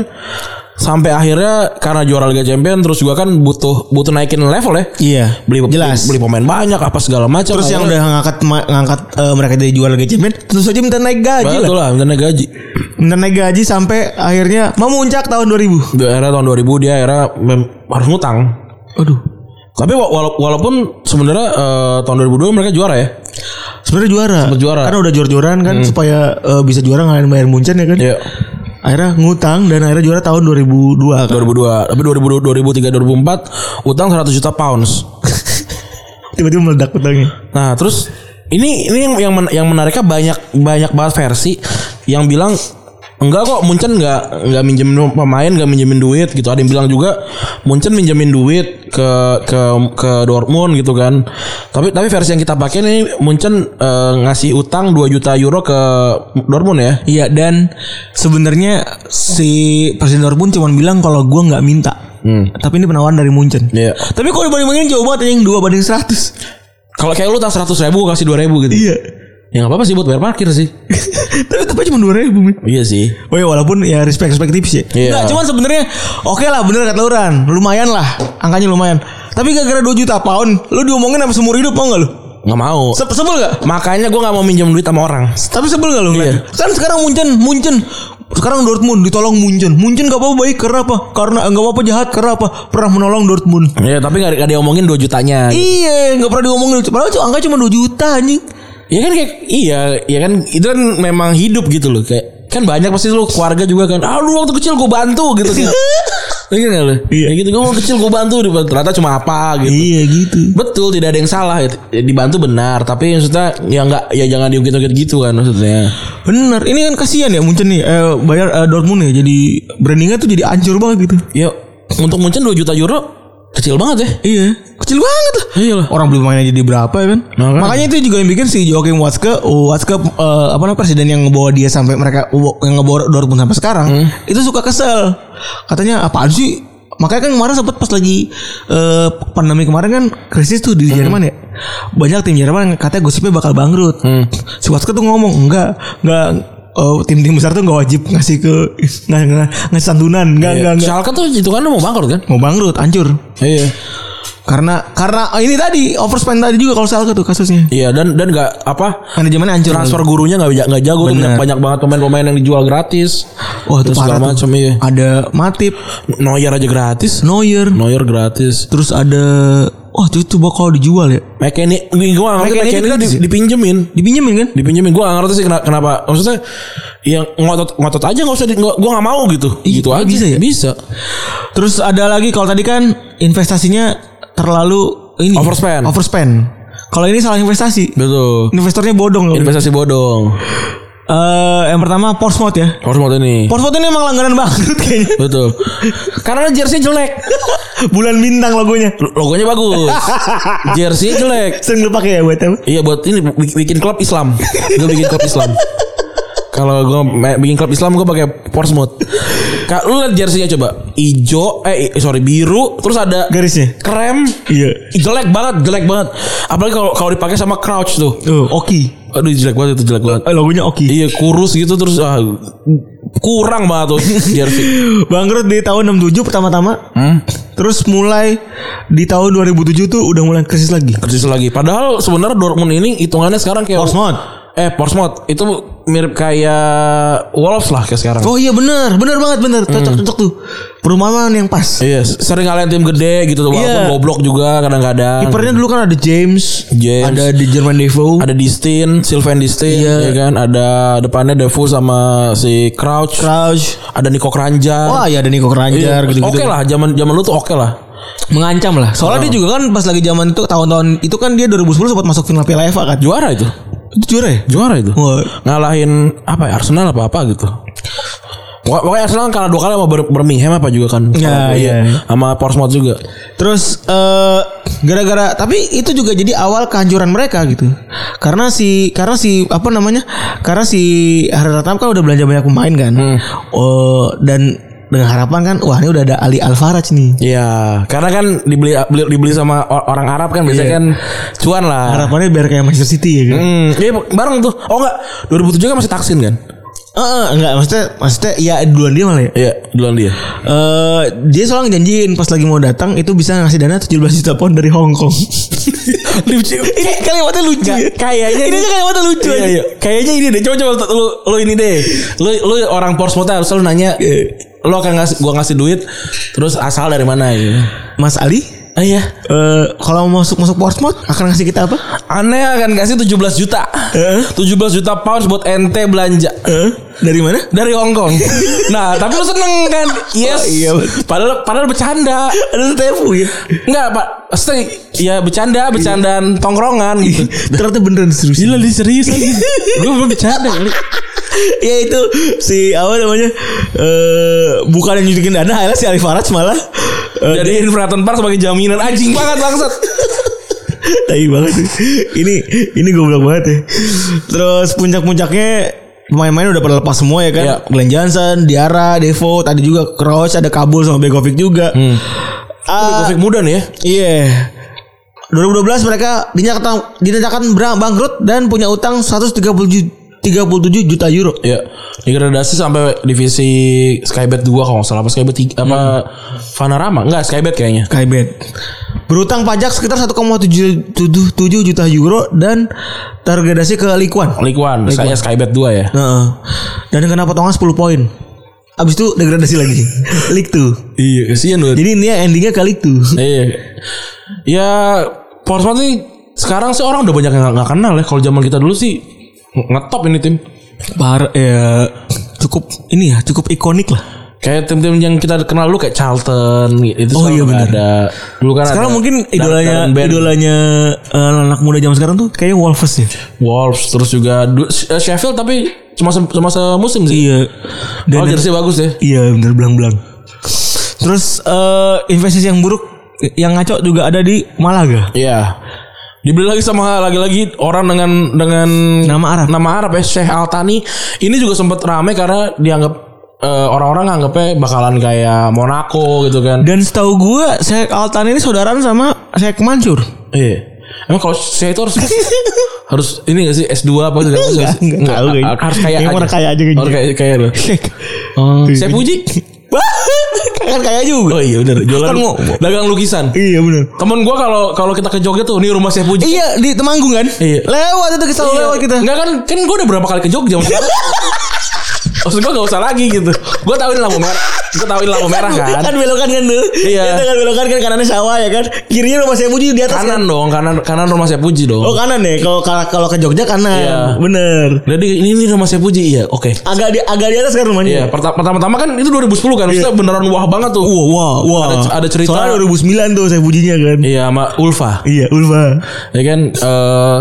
Speaker 2: sampai akhirnya karena juara Liga Champion terus juga kan butuh butuh naikin level ya.
Speaker 3: Iya,
Speaker 2: Beli
Speaker 3: jelas.
Speaker 2: beli pemain banyak apa segala macam.
Speaker 3: Terus yang
Speaker 2: Akhirnya-
Speaker 3: udah ngangkat ma- ngangkat eh, mereka jadi juara Liga Champion, tentu saja minta naik gaji gitu lah.
Speaker 2: Betul lah, minta naik gaji.
Speaker 3: Minta naik gaji sampai akhirnya memuncak tahun 2000.
Speaker 2: Di era tahun 2000 dia era mem- harus ngutang.
Speaker 3: Aduh.
Speaker 2: Tapi wa- wala- walaupun sebenarnya eh, tahun 2002 mereka juara ya.
Speaker 3: Sebenarnya juara.
Speaker 2: Sempet juara.
Speaker 3: Karena udah jor-joran kan supaya eh, bisa juara ngalahin Bayern Munchen ya kan.
Speaker 2: Iya.
Speaker 3: Akhirnya ngutang dan akhirnya juara tahun 2002 kan.
Speaker 2: 2002, tapi 2002, 2003, 2004 utang 100 juta pounds.
Speaker 3: Tiba-tiba meledak utangnya.
Speaker 2: Nah, terus ini ini yang yang, men- yang menariknya banyak banyak banget versi yang bilang enggak kok Munchen enggak enggak minjem pemain, enggak minjemin duit gitu. Ada yang bilang juga Munchen minjemin duit ke ke ke Dortmund gitu kan. Tapi tapi versi yang kita pakai ini Munchen eh, ngasih utang 2 juta euro ke Dortmund ya.
Speaker 3: Iya dan sebenarnya si Presiden Dortmund cuma bilang kalau gua nggak minta. Tapi ini penawaran dari Munchen.
Speaker 2: Iya.
Speaker 3: Tapi kalau dibanding-bandingin jauh banget yang 2 banding 100.
Speaker 2: Kalau kayak lu utang 100 ribu kasih 2 ribu gitu.
Speaker 3: Iya.
Speaker 2: Ya nggak apa-apa sih buat bayar parkir sih.
Speaker 3: Tapi tetapnya cuma 2000 ribu.
Speaker 2: iya sih.
Speaker 3: Oh ya walaupun ya respect respect tips ya.
Speaker 2: Iya.
Speaker 3: Nggak, cuman sebenarnya oke lah bener kata Luran, lumayan lah, angkanya lumayan. Tapi gara-gara 2 juta pound, lu diomongin sama seumur hidup mau nggak lu?
Speaker 2: Nggak mau.
Speaker 3: Se- sebel gak?
Speaker 2: Makanya gue nggak mau minjem duit sama orang.
Speaker 3: Tapi sebel gak lu ngeliat? Kan sekarang Munchen, Munchen sekarang Dortmund ditolong Munchen. Munchen gak apa-apa baik karena apa? Karena gak apa-apa jahat karena apa? Pernah menolong Dortmund.
Speaker 2: Iya tapi nggak nggak diomongin 2 jutanya.
Speaker 3: Iya, gak pernah diomongin. Padahal cuma angka cuma 2 juta anjing.
Speaker 2: Iya kan kayak iya, ya kan itu kan memang hidup gitu loh kayak kan banyak pasti lu keluarga juga kan. Ah lu waktu kecil gue bantu gitu kan. Iya kan lu?
Speaker 3: Iya.
Speaker 2: Kayak gitu gue waktu kecil gue bantu dibantu. ternyata cuma apa gitu.
Speaker 3: Iya gitu.
Speaker 2: Betul tidak ada yang salah gitu. Ya, dibantu benar tapi maksudnya ya nggak ya jangan diungkit-ungkit gitu kan maksudnya.
Speaker 3: Bener, ini kan kasihan ya Munchen nih eh, bayar eh, Dortmund ya jadi brandingnya tuh jadi ancur banget gitu.
Speaker 2: Ya untuk Munchen 2 juta euro kecil banget ya.
Speaker 3: Iya, kecil banget Iya lah.
Speaker 2: Iyalah.
Speaker 3: Orang beli pemain aja di berapa ya kan?
Speaker 2: Makanya.
Speaker 3: Makanya itu juga yang bikin si Joachim Watzke, oh, Watzke eh, apa namanya presiden yang ngebawa dia sampai mereka yang ngebawa Dortmund sampai sekarang, itu suka kesel. Katanya apaan sih? Makanya kan kemarin sempat pas lagi eh, pandemi kemarin kan krisis tuh di Jerman ya. Banyak tim Jerman yang katanya gosipnya bakal bangkrut. Si Watzke tuh ngomong enggak, enggak eh, tim-tim besar tuh nggak wajib ngasih ke ngasih, ngasih santunan, enggak, enggak, enggak.
Speaker 2: Schalke Iya. tuh itu kan mau bangkrut kan?
Speaker 3: Mau bangkrut, hancur.
Speaker 2: Iya.
Speaker 3: Karena karena oh, ini tadi overspend tadi juga kalau Salka tuh kasusnya.
Speaker 2: Iya dan dan nggak apa
Speaker 3: Manajemennya hancur.
Speaker 2: transfer gurunya nggak ja- nggak jago tuh banyak,
Speaker 3: Bener.
Speaker 2: banyak banget pemain-pemain yang dijual gratis.
Speaker 3: Wah, itu
Speaker 2: Terus segala
Speaker 3: parah tuh.
Speaker 2: macam iya.
Speaker 3: Ada Matip,
Speaker 2: Neuer aja gratis.
Speaker 3: Neuer,
Speaker 2: Neuer gratis.
Speaker 3: terus ada wah itu coba kalau dijual ya.
Speaker 2: Mekanik gue nggak ngerti
Speaker 3: Mekanik
Speaker 2: mekanik
Speaker 3: gratis
Speaker 2: di- dipinjemin.
Speaker 3: Dipinjemin kan?
Speaker 2: Dipinjemin gue nggak ngerti sih kena- kenapa. Maksudnya yang ngotot ngotot aja nggak usah di, nggak- gua nggak mau gitu.
Speaker 3: Iya,
Speaker 2: gitu aja.
Speaker 3: bisa ya?
Speaker 2: Bisa.
Speaker 3: Terus ada lagi kalau tadi kan investasinya terlalu ini
Speaker 2: Overspend.
Speaker 3: Overspend. Kalau ini salah investasi.
Speaker 2: Betul.
Speaker 3: Investornya bodong loh.
Speaker 2: Investasi bodong.
Speaker 3: Eh, yang pertama Portsmouth ya.
Speaker 2: Harus mau ini.
Speaker 3: Portsmouth ini emang langganan bangkrut kayaknya.
Speaker 2: Betul. Karena jersey jelek.
Speaker 3: Bulan bintang logonya.
Speaker 2: Logonya bagus. Jersey jelek.
Speaker 3: Sering lu pakai ya buat apa?
Speaker 2: Iya buat ini bu- bikin klub Islam. Gue bikin klub Islam. Kalau gue bikin klub Islam gue pakai Portsmouth. Kak lu lihat jersinya coba. Ijo eh i- sorry biru terus ada
Speaker 3: Garisnya.
Speaker 2: krem.
Speaker 3: Iya.
Speaker 2: Ih, Jelek banget, jelek banget. Apalagi kalau kalau dipakai sama Crouch tuh.
Speaker 3: Oh, Oki.
Speaker 2: Aduh jelek banget itu jelek banget.
Speaker 3: Eh, Logonya Oki.
Speaker 2: Iya kurus gitu terus ah, kurang banget tuh jersey.
Speaker 3: Bangkrut di tahun 67 pertama-tama. Terus mulai di tahun 2007 tuh udah mulai krisis lagi.
Speaker 2: Persis lagi. Padahal sebenarnya Dortmund ini hitungannya sekarang kayak Eh Portsmouth itu mirip kayak Wolves lah kayak sekarang.
Speaker 3: Oh iya bener, bener banget bener. Cocok-cocok tuh. Perumahan yang pas.
Speaker 2: Iya, sering kalian tim gede gitu tuh walaupun
Speaker 3: Iya.
Speaker 2: goblok juga kadang-kadang.
Speaker 3: Kipernya dulu kan ada James,
Speaker 2: James.
Speaker 3: ada di Jerman Defoe.
Speaker 2: ada Distin, Sylvain Distin,
Speaker 3: Iya.
Speaker 2: ya kan? Ada depannya Defoe sama si Crouch,
Speaker 3: Crouch.
Speaker 2: ada Niko Kranjar.
Speaker 3: Wah, ya ada Nico
Speaker 2: Iya.
Speaker 3: Kranjar gitu-gitu.
Speaker 2: Oke lah, zaman zaman lu tuh oke lah.
Speaker 3: Mengancam lah. Soalnya dia juga kan pas lagi zaman itu tahun-tahun itu kan dia 2010 sempat masuk final Piala FA kan.
Speaker 2: Juara itu.
Speaker 3: Itu juara ya?
Speaker 2: Juara itu.
Speaker 3: Wah.
Speaker 2: Ngalahin apa ya? Arsenal apa apa gitu. Pokok- Pokoknya Arsenal kalah dua kali sama Bir- Birmingham apa juga kan.
Speaker 3: Iya,
Speaker 2: Sama-
Speaker 3: iya.
Speaker 2: Sama Portsmouth juga.
Speaker 3: Terus eh, gara-gara tapi itu juga jadi awal kehancuran mereka gitu. Karena si karena si apa namanya? Karena si Haratan kan udah belanja banyak pemain kan.
Speaker 2: Hmm.
Speaker 3: Oh, dan dengan harapan kan wah ini udah ada Ali Alvarez nih.
Speaker 2: Iya, karena kan dibeli beli- dibeli sama o- orang Arab kan biasanya
Speaker 3: Iya.
Speaker 2: kan cuan lah.
Speaker 3: Harapannya biar kayak Manchester City ya kan.
Speaker 2: Hmm, iya bareng tuh. Oh enggak, 2007 kan masih taksin kan?
Speaker 3: Eh, eh, enggak maksudnya maksudnya ya duluan dia malah ya.
Speaker 2: Iya, duluan dia.
Speaker 3: Eh, dia soalnya janjiin pas lagi mau datang itu bisa ngasih dana 17 juta pound dari Hong Kong.
Speaker 2: lucu.
Speaker 3: ini kalimatnya lucu. ya.
Speaker 2: Kayaknya
Speaker 3: Ini aja kalimatnya lucu.
Speaker 2: Iya,
Speaker 3: aja.
Speaker 2: iya. Kayaknya ini deh. Coba coba lu lu ini deh. Lu lu orang Portsmouth harus selalu nanya lo akan ngasih gua ngasih duit terus asal dari mana ya.
Speaker 3: Mas Ali,
Speaker 2: Ah, iya.
Speaker 3: eh kalau mau masuk masuk Portsmouth akan ngasih kita apa?
Speaker 2: Aneh akan kasih 17 juta.
Speaker 3: Eh?
Speaker 2: 17 juta pounds buat ente belanja.
Speaker 3: Eh, dari mana?
Speaker 2: dari Hong Kong. nah, tapi lu seneng kan? Yes.
Speaker 3: iya,
Speaker 2: Padahal padahal bercanda.
Speaker 3: Ada tepu ya.
Speaker 2: Enggak, Pak. Stay. Ya bercanda, bercandaan tongkrongan gitu.
Speaker 3: Ternyata beneran serius.
Speaker 2: Gila dia serius lagi. Gue belum bercanda kali.
Speaker 3: ya itu si apa namanya? Eh bukan yang nyuntikin dana, akhirnya si Arif Faraj malah eh,
Speaker 2: Jadi Infraton Park sebagai jaminan anjing banget bangsat.
Speaker 3: tai banget. Ini ini goblok banget ya. Terus puncak-puncaknya pemain-pemain udah pada lepas semua ya kan.
Speaker 2: Iya.
Speaker 3: Glenn Johnson, Diara, Devo, tadi juga Hmm. Crouch, ada Kabul sama Begovic juga. Ah,
Speaker 2: Covid muda nih ya.
Speaker 3: Iya. 2012 mereka dinyatakan dinyatakan bra- bangkrut dan punya utang 137 37 juta euro.
Speaker 2: Ya, degradasi sampai divisi Skybet 2 kalau nggak salah apa Skybet 3 apa Vanarama? Enggak, Skybet kayaknya.
Speaker 3: Kaibet. Berutang pajak sekitar 1,77 juta euro dan tergradasi ke Likuan.
Speaker 2: League One, saya Skybet 2 ya.
Speaker 3: Nah, dan kena potongan 10 poin. Abis itu degradasi lagi. League 2.
Speaker 2: Iya, kasihan lu.
Speaker 3: Jadi ini ya, endingnya ke League 2.
Speaker 2: Iya. Ya, Portsmouth nih sekarang sih orang udah banyak yang nggak- nggak kenal ya. Kalau zaman kita dulu sih nge- ngetop ini tim.
Speaker 3: Par ya cukup ini ya cukup ikonik lah.
Speaker 2: Kayak tim-tim yang kita kenal dulu kayak Charlton itu
Speaker 3: Oh,
Speaker 2: sekarang
Speaker 3: iya,
Speaker 2: nggak
Speaker 3: bener.
Speaker 2: ada. Dulu kan
Speaker 3: Sekarang
Speaker 2: ada
Speaker 3: mungkin
Speaker 2: Darren-
Speaker 3: idolanya
Speaker 2: Darren Bent,
Speaker 3: idolanya eh, anak muda zaman sekarang tuh kayaknya Wolves ya.
Speaker 2: Wolves terus juga du- eh, Sheffield tapi cuma se- cuma semusim sih.
Speaker 3: Iya.
Speaker 2: oh,
Speaker 3: Dan
Speaker 2: jersey bagus ya.
Speaker 3: Iya bener belang-belang Terus eh investasi yang buruk Yang ngaco juga ada di Malaga
Speaker 2: Iya. Dibeli lagi sama lagi-lagi orang dengan dengan
Speaker 3: Nama Arab.
Speaker 2: Nama Arab ya Syekh Altani. Ini juga sempat rame karena dianggap eh, orang-orang nganggapnya bakalan kayak Monaco gitu kan.
Speaker 3: Dan setahu gue Sheikh Altan ini saudaraan sama Sheikh Mansur
Speaker 2: Iya. Emang kalau Syekh itu harus harus ini gak sih S2 apa gitu Harus-
Speaker 3: Enggak, enggak tahu kayaknya.
Speaker 2: a- Harus kayak
Speaker 3: Kayaknya orang kaya aja Oh, kayaknya.
Speaker 2: Orang kaya kaya loh.
Speaker 3: Sheikh Iya.
Speaker 2: Saya puji.
Speaker 3: Kan kaya juga
Speaker 2: Oh iya benar. Jualan
Speaker 3: Kan mau-
Speaker 2: dagang lukisan.
Speaker 3: Iya bener
Speaker 2: Temen gua kalau kalau kita ke Jogja tuh, ini rumah saya puji.
Speaker 3: Iya di Temanggung kan
Speaker 2: Iya.
Speaker 3: Lewat itu kita
Speaker 2: Iya.
Speaker 3: lewat kita
Speaker 2: Enggak kan kan gue udah berapa kali ke Jogja maksud gua- Maksud gue gak usah lagi gitu Gue tau ini lampu merah Gue tau ini lampu merah kan
Speaker 3: Kan belokan kan tuh
Speaker 2: Iya.
Speaker 3: Itu kan belokan kan kanannya sawah ya kan Kirinya rumah saya puji di atas kan
Speaker 2: Kanan dong Kanan kanan rumah saya puji dong
Speaker 3: Oh kanan ya Kalau kalau ke Jogja kanan
Speaker 2: Iya.
Speaker 3: Bener
Speaker 2: Jadi ini, ini rumah saya puji Iya oke
Speaker 3: Agak di agak di atas kan rumahnya
Speaker 2: Iya perta- pertama-tama kan itu 2010 kan Maksudnya beneran wah banget tuh
Speaker 3: Iya. Wah, wah, wah.
Speaker 2: Ada- ada cerita.
Speaker 3: Soalnya 2009 tuh saya pujinya kan.
Speaker 2: Iya sama Ulfa
Speaker 3: Iya, Ulfa.
Speaker 2: ya kan eh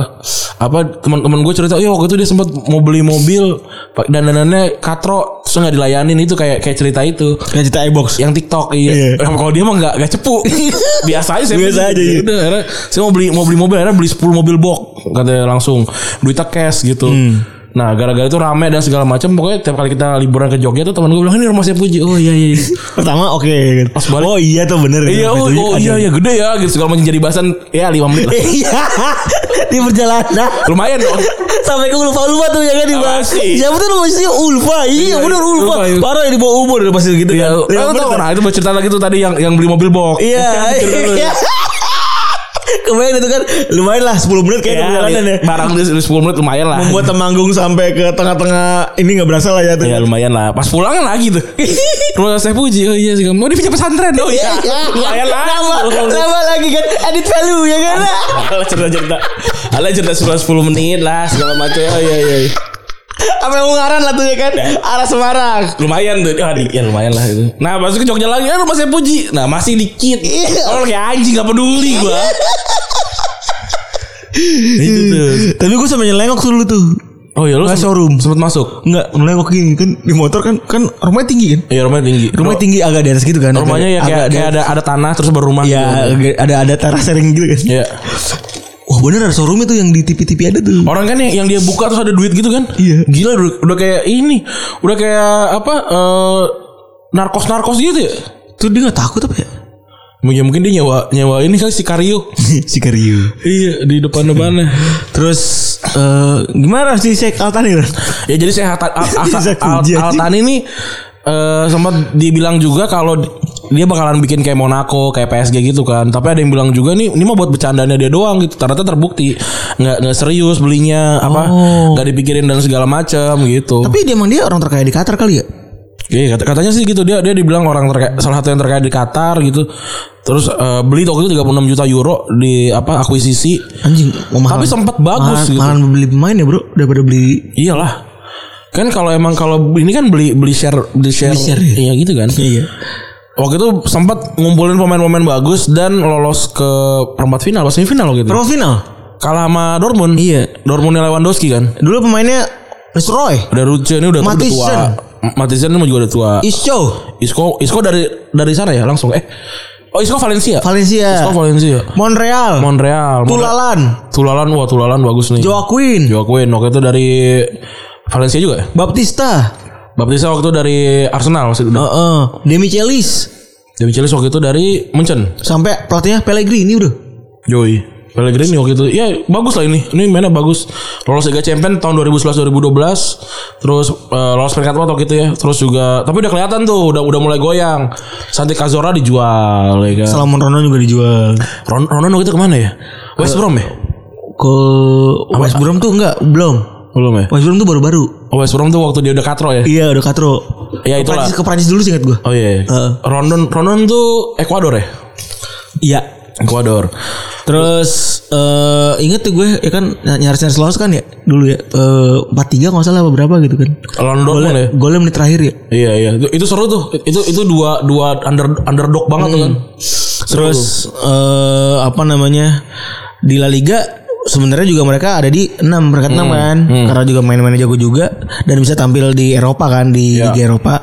Speaker 2: apa teman-teman gue cerita yo waktu itu dia sempat mau beli mobil pak- dan danannya katro terus nggak dilayanin itu kayak kayak cerita itu
Speaker 3: Kayak cerita iBox.
Speaker 2: yang TikTok
Speaker 3: Iya.
Speaker 2: iya. Kalau dia mah nggak nggak cepu. Biasa aja saya.
Speaker 3: Biasa
Speaker 2: beli.
Speaker 3: aja, iya.
Speaker 2: Udah, akhirnya saya mau beli mau beli mobil akhirnya beli 10 mobil box katanya langsung duitnya cash gitu.
Speaker 3: Hmm.
Speaker 2: Nah, gara-gara itu rame dan segala macam pokoknya tiap kali kita liburan ke Jogja tuh teman gue bilang ini rumah saya puji. Oh iya iya.
Speaker 3: Pertama oke.
Speaker 2: Pas balik.
Speaker 3: Oh iya tuh bener.
Speaker 2: iya,
Speaker 3: Rumah
Speaker 2: oh,
Speaker 3: saya
Speaker 2: oh,
Speaker 3: pujinya
Speaker 2: iya
Speaker 3: ada.
Speaker 2: iya gede ya gitu segala macam jadi bahasan ya 5 menit lah.
Speaker 3: Iya. di perjalanan
Speaker 2: Lumayan dong.
Speaker 3: sampai ke Ulfa Ulfa tuh jangan dibahas.
Speaker 2: sih?
Speaker 3: Ya betul maksudnya Ulfa. Iya, bener Ulfa.
Speaker 2: Ulfa, iya.
Speaker 3: Parah ya, di bawah umur udah pasti gitu
Speaker 2: Iya,
Speaker 3: kan.
Speaker 2: oh,
Speaker 3: Iya,
Speaker 2: tau
Speaker 3: bener.
Speaker 2: nah itu cerita lagi tuh tadi yang yang beli mobil box.
Speaker 3: Iya. iya. Kemarin itu kan lumayan lah 10 menit kayak
Speaker 2: Ya,
Speaker 3: perjalanan ya.
Speaker 2: barang di 10 menit lumayan lah.
Speaker 3: Membuat temanggung sampai ke tengah-tengah ini nggak berasa lah ya. tuh.
Speaker 2: Ya lumayan lah. Pas pulang kan lagi tuh. Rumah saya puji. Oh iya sih. Mau dipinjam pesantren. Oh iya. Lumayan lah.
Speaker 3: Ya, Nama, nama lagi kan edit value ya kan.
Speaker 2: Alah cerita-cerita. Alah cerita 10 menit lah segala macam. Oh iya iya. iya.
Speaker 3: Sampai Ungaran lah tuh ya kan. Arah Semarang.
Speaker 2: Lumayan tuh. Oh, di- ya lumayan lah itu. Nah, masuk ke Jogja lagi. Ya, rumah saya puji. Nah, masih dikit. Orang kayak anjing gak peduli gua. itu tuh.
Speaker 3: Tapi gue sampe nyelengok dulu tuh.
Speaker 2: Oh iya lu
Speaker 3: Nggak
Speaker 2: sem-
Speaker 3: showroom.
Speaker 2: sempet masuk.
Speaker 3: Enggak, nyelengok gini kan di motor kan kan rumahnya tinggi kan.
Speaker 2: Iya rumahnya tinggi.
Speaker 3: Rumahnya tinggi agak di atas gitu kan.
Speaker 2: rumahnya ya
Speaker 3: Agak-
Speaker 2: kayak,
Speaker 3: agak di
Speaker 2: kayak
Speaker 3: atas.
Speaker 2: ada ada tanah terus baru rumah.
Speaker 3: Ya
Speaker 2: gitu.
Speaker 3: agak- ada ada teras sharing gitu kan.
Speaker 2: Iya.
Speaker 3: Wah bener ada showroom itu yang di TV-TV ada tuh.
Speaker 2: Orang kan yang, yang dia buka terus ada duit gitu kan?
Speaker 3: Iya.
Speaker 2: Gila udah, udah kayak ini, udah kayak apa? eh narkos-narkos gitu ya?
Speaker 3: Tuh dia gak takut apa ya?
Speaker 2: Ya mungkin dia nyewa nyewa ini kali Sicario.
Speaker 3: si Karyu.
Speaker 2: iya di depan depannya.
Speaker 3: Terus eh, gimana sih Sheikh Altani?
Speaker 2: ya jadi saya Alta- Al-
Speaker 3: Bisa
Speaker 2: Al- Al-
Speaker 3: puji aja.
Speaker 2: Altani ini eh sempat dibilang juga kalau dia bakalan bikin kayak Monaco, kayak PSG gitu kan. Tapi ada yang bilang juga nih, ini mah buat bercandanya dia doang gitu. Ternyata terbukti nggak nggak serius belinya apa, nggak dipikirin dan segala macam gitu.
Speaker 3: Tapi dia emang dia orang terkaya di Qatar kali ya?
Speaker 2: Iya kata- katanya sih gitu dia dia dibilang orang terkait salah satu yang terkait di Qatar gitu. Terus eh, beli waktu itu 36 juta euro di apa akuisisi.
Speaker 3: Anjing, mau mahal.
Speaker 2: Tapi sempat bagus
Speaker 3: Mahal-
Speaker 2: gitu.
Speaker 3: Malah beli pemain ya, Bro, daripada beli
Speaker 2: Iyalah. Kan kalau emang kalau ini kan beli beli share beli share,
Speaker 3: share, ya.
Speaker 2: iya gitu kan.
Speaker 3: Iya.
Speaker 2: Waktu itu sempat ngumpulin pemain-pemain bagus dan lolos ke perempat final, pas semifinal gitu.
Speaker 3: Pro final.
Speaker 2: Kalah sama Dortmund.
Speaker 3: Iya.
Speaker 2: Dortmund Lewandowski kan.
Speaker 3: Dulu pemainnya Roy,
Speaker 2: Udah Ruce ini udah, udah
Speaker 3: Matheson. Iya.
Speaker 2: tua. Matisen ini juga udah tua.
Speaker 3: Isco,
Speaker 2: Isco Isco dari dari sana ya langsung eh oh Isco Valencia
Speaker 3: Valencia,
Speaker 2: Isco Valencia
Speaker 3: Montreal,
Speaker 2: Montreal Montreal.
Speaker 3: Tulalan,
Speaker 2: Tulalan wah Tulalan bagus nih
Speaker 3: Joaquin,
Speaker 2: Joaquin waktu itu dari Valencia juga ya
Speaker 3: Baptista,
Speaker 2: Baptista waktu itu dari Arsenal masih
Speaker 3: Heeh.
Speaker 2: udah
Speaker 3: Demi Celis
Speaker 2: Demichelis waktu itu dari Munchen
Speaker 3: sampai pelatihnya Pellegrini, Bro.
Speaker 2: Joy Pellegrini waktu itu ya bagus lah ini ini mainnya bagus lolos Liga Champion tahun 2011 2012 terus eh, lolos peringkat empat waktu itu ya terus juga tapi udah kelihatan tuh udah udah mulai goyang Santi Cazorla dijual ya kan
Speaker 3: Salomon Ronan juga dijual
Speaker 2: Ron Ronan waktu itu kemana ya West Brom ya
Speaker 3: ke West Brom tuh enggak belum
Speaker 2: belum ya
Speaker 3: West Brom tuh baru-baru
Speaker 2: oh, West Brom tuh waktu dia udah katro ya
Speaker 3: iya udah katro
Speaker 2: Ya,
Speaker 3: Ke
Speaker 2: itulah.
Speaker 3: Prancis- ke Prancis dulu singkat gue
Speaker 2: oh iya
Speaker 3: Heeh.
Speaker 2: Rondon Rondon tuh Ekuador ya
Speaker 3: iya
Speaker 2: Ekuador
Speaker 3: terus eh inget tuh gue ya kan nyaris nyaris lolos kan ya dulu ya empat tiga nggak salah apa berapa gitu kan
Speaker 2: London
Speaker 3: golnya
Speaker 2: ya
Speaker 3: golnya menit terakhir ya
Speaker 2: Iya iya itu, itu seru tuh itu itu dua dua under underdog banget tuh kan.
Speaker 3: Hmm. Terus eh apa namanya di La Liga sebenarnya juga mereka ada di 6 peringkat 6
Speaker 2: Hmm.
Speaker 3: kan karena juga main-mainnya jago juga dan bisa tampil di Eropa kan di
Speaker 2: Iya.
Speaker 3: Liga Eropa.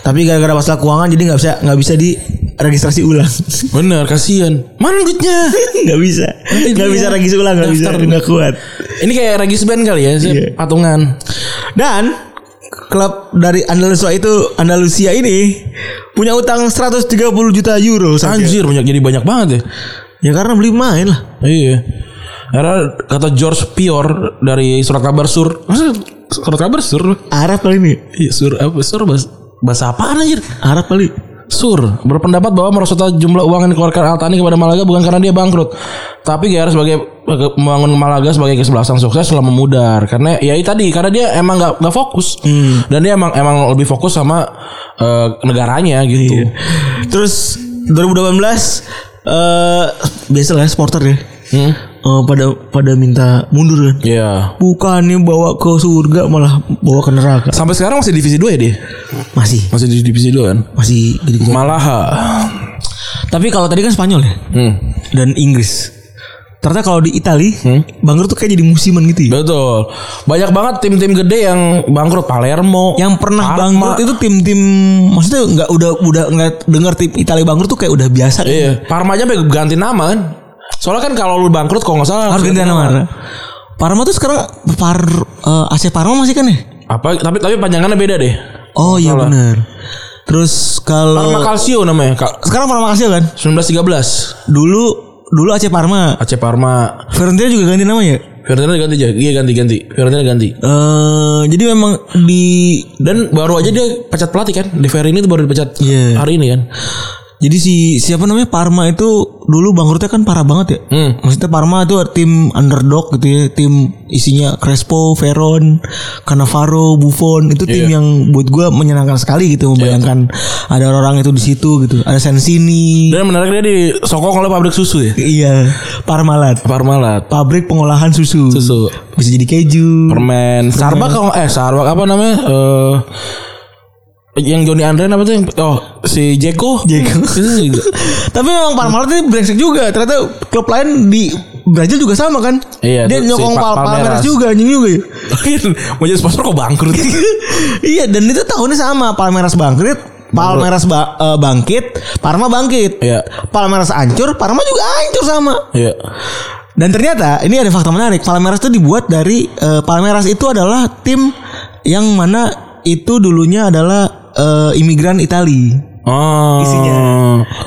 Speaker 3: Tapi gara-gara masalah keuangan jadi nggak bisa nggak bisa di registrasi ulang.
Speaker 2: Bener kasihan. Mana duitnya?
Speaker 3: nggak bisa.
Speaker 2: Itu
Speaker 3: Nggak
Speaker 2: dia.
Speaker 3: bisa registrasi ulang, nggak bisa
Speaker 2: Daftar.
Speaker 3: nggak kuat.
Speaker 2: Ini kayak Regis Band kali ya, sih,
Speaker 3: Iya.
Speaker 2: patungan.
Speaker 3: Dan klub dari Andalusia itu Andalusia ini punya utang 130 juta euro saja.
Speaker 2: Anjir banyak jadi banyak banget ya.
Speaker 3: Ya karena beli main lah.
Speaker 2: Iya. Karena kata George Pior dari surat kabar sur. Masa surat kabar sur?
Speaker 3: Arab kali ini.
Speaker 2: Iya sur apa sur bahasa, bahasa apaan anjir?
Speaker 3: Arab kali.
Speaker 2: Sur berpendapat bahwa merosotnya jumlah uang yang dikeluarkan Altani kepada Malaga bukan karena dia bangkrut, tapi Gerard sebagai eh, membangun Malaga sebagai kesebelasan sukses selama mudar. Karena ya itu tadi karena dia emang nggak nggak fokus dan dia emang emang lebih fokus sama eh, negaranya gitu.
Speaker 3: Terus 2018 eh biasalah supporter ya.
Speaker 2: Hmm.
Speaker 3: Eh, pada pada minta mundur kan.
Speaker 2: Iya.
Speaker 3: Bukannya bawa ke surga malah bawa ke neraka.
Speaker 2: Sampai sekarang masih divisi 2 ya dia?
Speaker 3: Masih
Speaker 2: Masih di divisi 2 kan?
Speaker 3: masih gitu.
Speaker 2: Malaha.
Speaker 3: Tapi kalau tadi kan Spanyol ya
Speaker 2: Hmm.
Speaker 3: dan Inggris. Ternyata kalau di Italia bangkrut tuh kayak jadi musiman gitu ya.
Speaker 2: Betul. Banyak banget tim-tim gede yang bangkrut Palermo.
Speaker 3: Yang pernah
Speaker 2: Parma.
Speaker 3: bangkrut itu tim-tim maksudnya nggak udah udah nggak dengar tim Italia bangkrut tuh kayak udah biasa.
Speaker 2: Iya. Parma aja sampai ganti nama kan. Soalnya kan kalau lu bangkrut kalau nggak salah
Speaker 3: Harus ganti nama. Parma tuh sekarang Par eh, AC Parma masih kan ya?
Speaker 2: Apa tapi tapi panjangannya beda deh.
Speaker 3: Oh iya benar. Terus
Speaker 2: Parma
Speaker 3: kalau
Speaker 2: Calcio namanya. Ka-
Speaker 3: sekarang Parma Calcio kan?
Speaker 2: 1913.
Speaker 3: Dulu dulu AC Parma.
Speaker 2: AC Parma.
Speaker 3: Fiorentina juga ganti namanya. ya?
Speaker 2: Fiorentina ganti aja. Iya ganti ganti. Fiorentina ganti.
Speaker 3: Eh jadi memang di
Speaker 2: Dan baru aja dia pecat pelatih kan. Di ini tuh baru dipecat
Speaker 3: Iya.
Speaker 2: hari ini kan.
Speaker 3: jadi si siapa namanya Parma itu dulu bangkrutnya kan parah banget ya.
Speaker 2: Hmm.
Speaker 3: Maksudnya Parma itu tim underdog gitu ya, tim isinya Crespo, Veron, Cannavaro, Buffon itu tim
Speaker 2: Iya.
Speaker 3: yang buat gua menyenangkan sekali gitu membayangkan ada orang itu di situ gitu, ada Sensini.
Speaker 2: Dan menariknya disokong oleh pabrik susu ya.
Speaker 3: Iya, Parmalat.
Speaker 2: Parmalat.
Speaker 3: Pabrik pengolahan susu.
Speaker 2: Susu.
Speaker 3: Bisa jadi keju.
Speaker 2: Permen. Starbucks kalau eh Starbucks apa namanya? Eh yang Johnny Andren apa tuh yang oh si Jeko
Speaker 3: Jeko.
Speaker 2: Itu juga.
Speaker 3: Tapi memang Parmalat ini brengsek juga. Ternyata klub lain di Brazil juga sama kan?
Speaker 2: Iya,
Speaker 3: Dia
Speaker 2: tuh, si
Speaker 3: nyokong
Speaker 2: Pa-
Speaker 3: Pal Palmeiras.
Speaker 2: Palmeiras
Speaker 3: juga anjing juga. ya.
Speaker 2: mau jadi sponsor kok bangkrut
Speaker 3: iya, dan itu tahunnya sama Palmeiras bangkit, Palmeiras ba- eh, bangkit, Parma bangkit.
Speaker 2: Iya.
Speaker 3: Palmeiras hancur, Parma juga hancur sama.
Speaker 2: Iya.
Speaker 3: Dan ternyata ini ada fakta menarik. Palmeiras itu dibuat dari eh, Palmeiras itu adalah tim yang mana itu dulunya adalah eh, imigran Itali
Speaker 2: Oh.
Speaker 3: Isinya.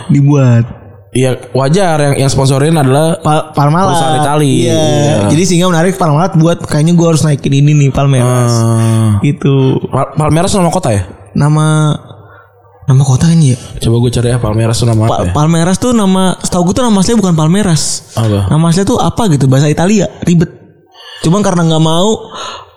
Speaker 3: dibuat.
Speaker 2: Iya wajar yang yang sponsorin adalah
Speaker 3: Pal Palmalat.
Speaker 2: Perusahaan Itali.
Speaker 3: Iya.
Speaker 2: Iya.
Speaker 3: Jadi sehingga menarik Palmalat buat kayaknya gue harus naikin ini nih Palmeras.
Speaker 2: Ah.
Speaker 3: Gitu.
Speaker 2: Pal- Palmeiras nama kota ya?
Speaker 3: Nama nama kota kan ya?
Speaker 2: Coba gue cari ya Palmeiras itu nama apa
Speaker 3: Pa-
Speaker 2: ya? Oh.
Speaker 3: Palmeras tuh nama setahu gue tuh nama aslinya bukan Palmeras.
Speaker 2: Apa?
Speaker 3: Nama aslinya tuh apa gitu bahasa Italia, ribet. Cuman karena nggak mau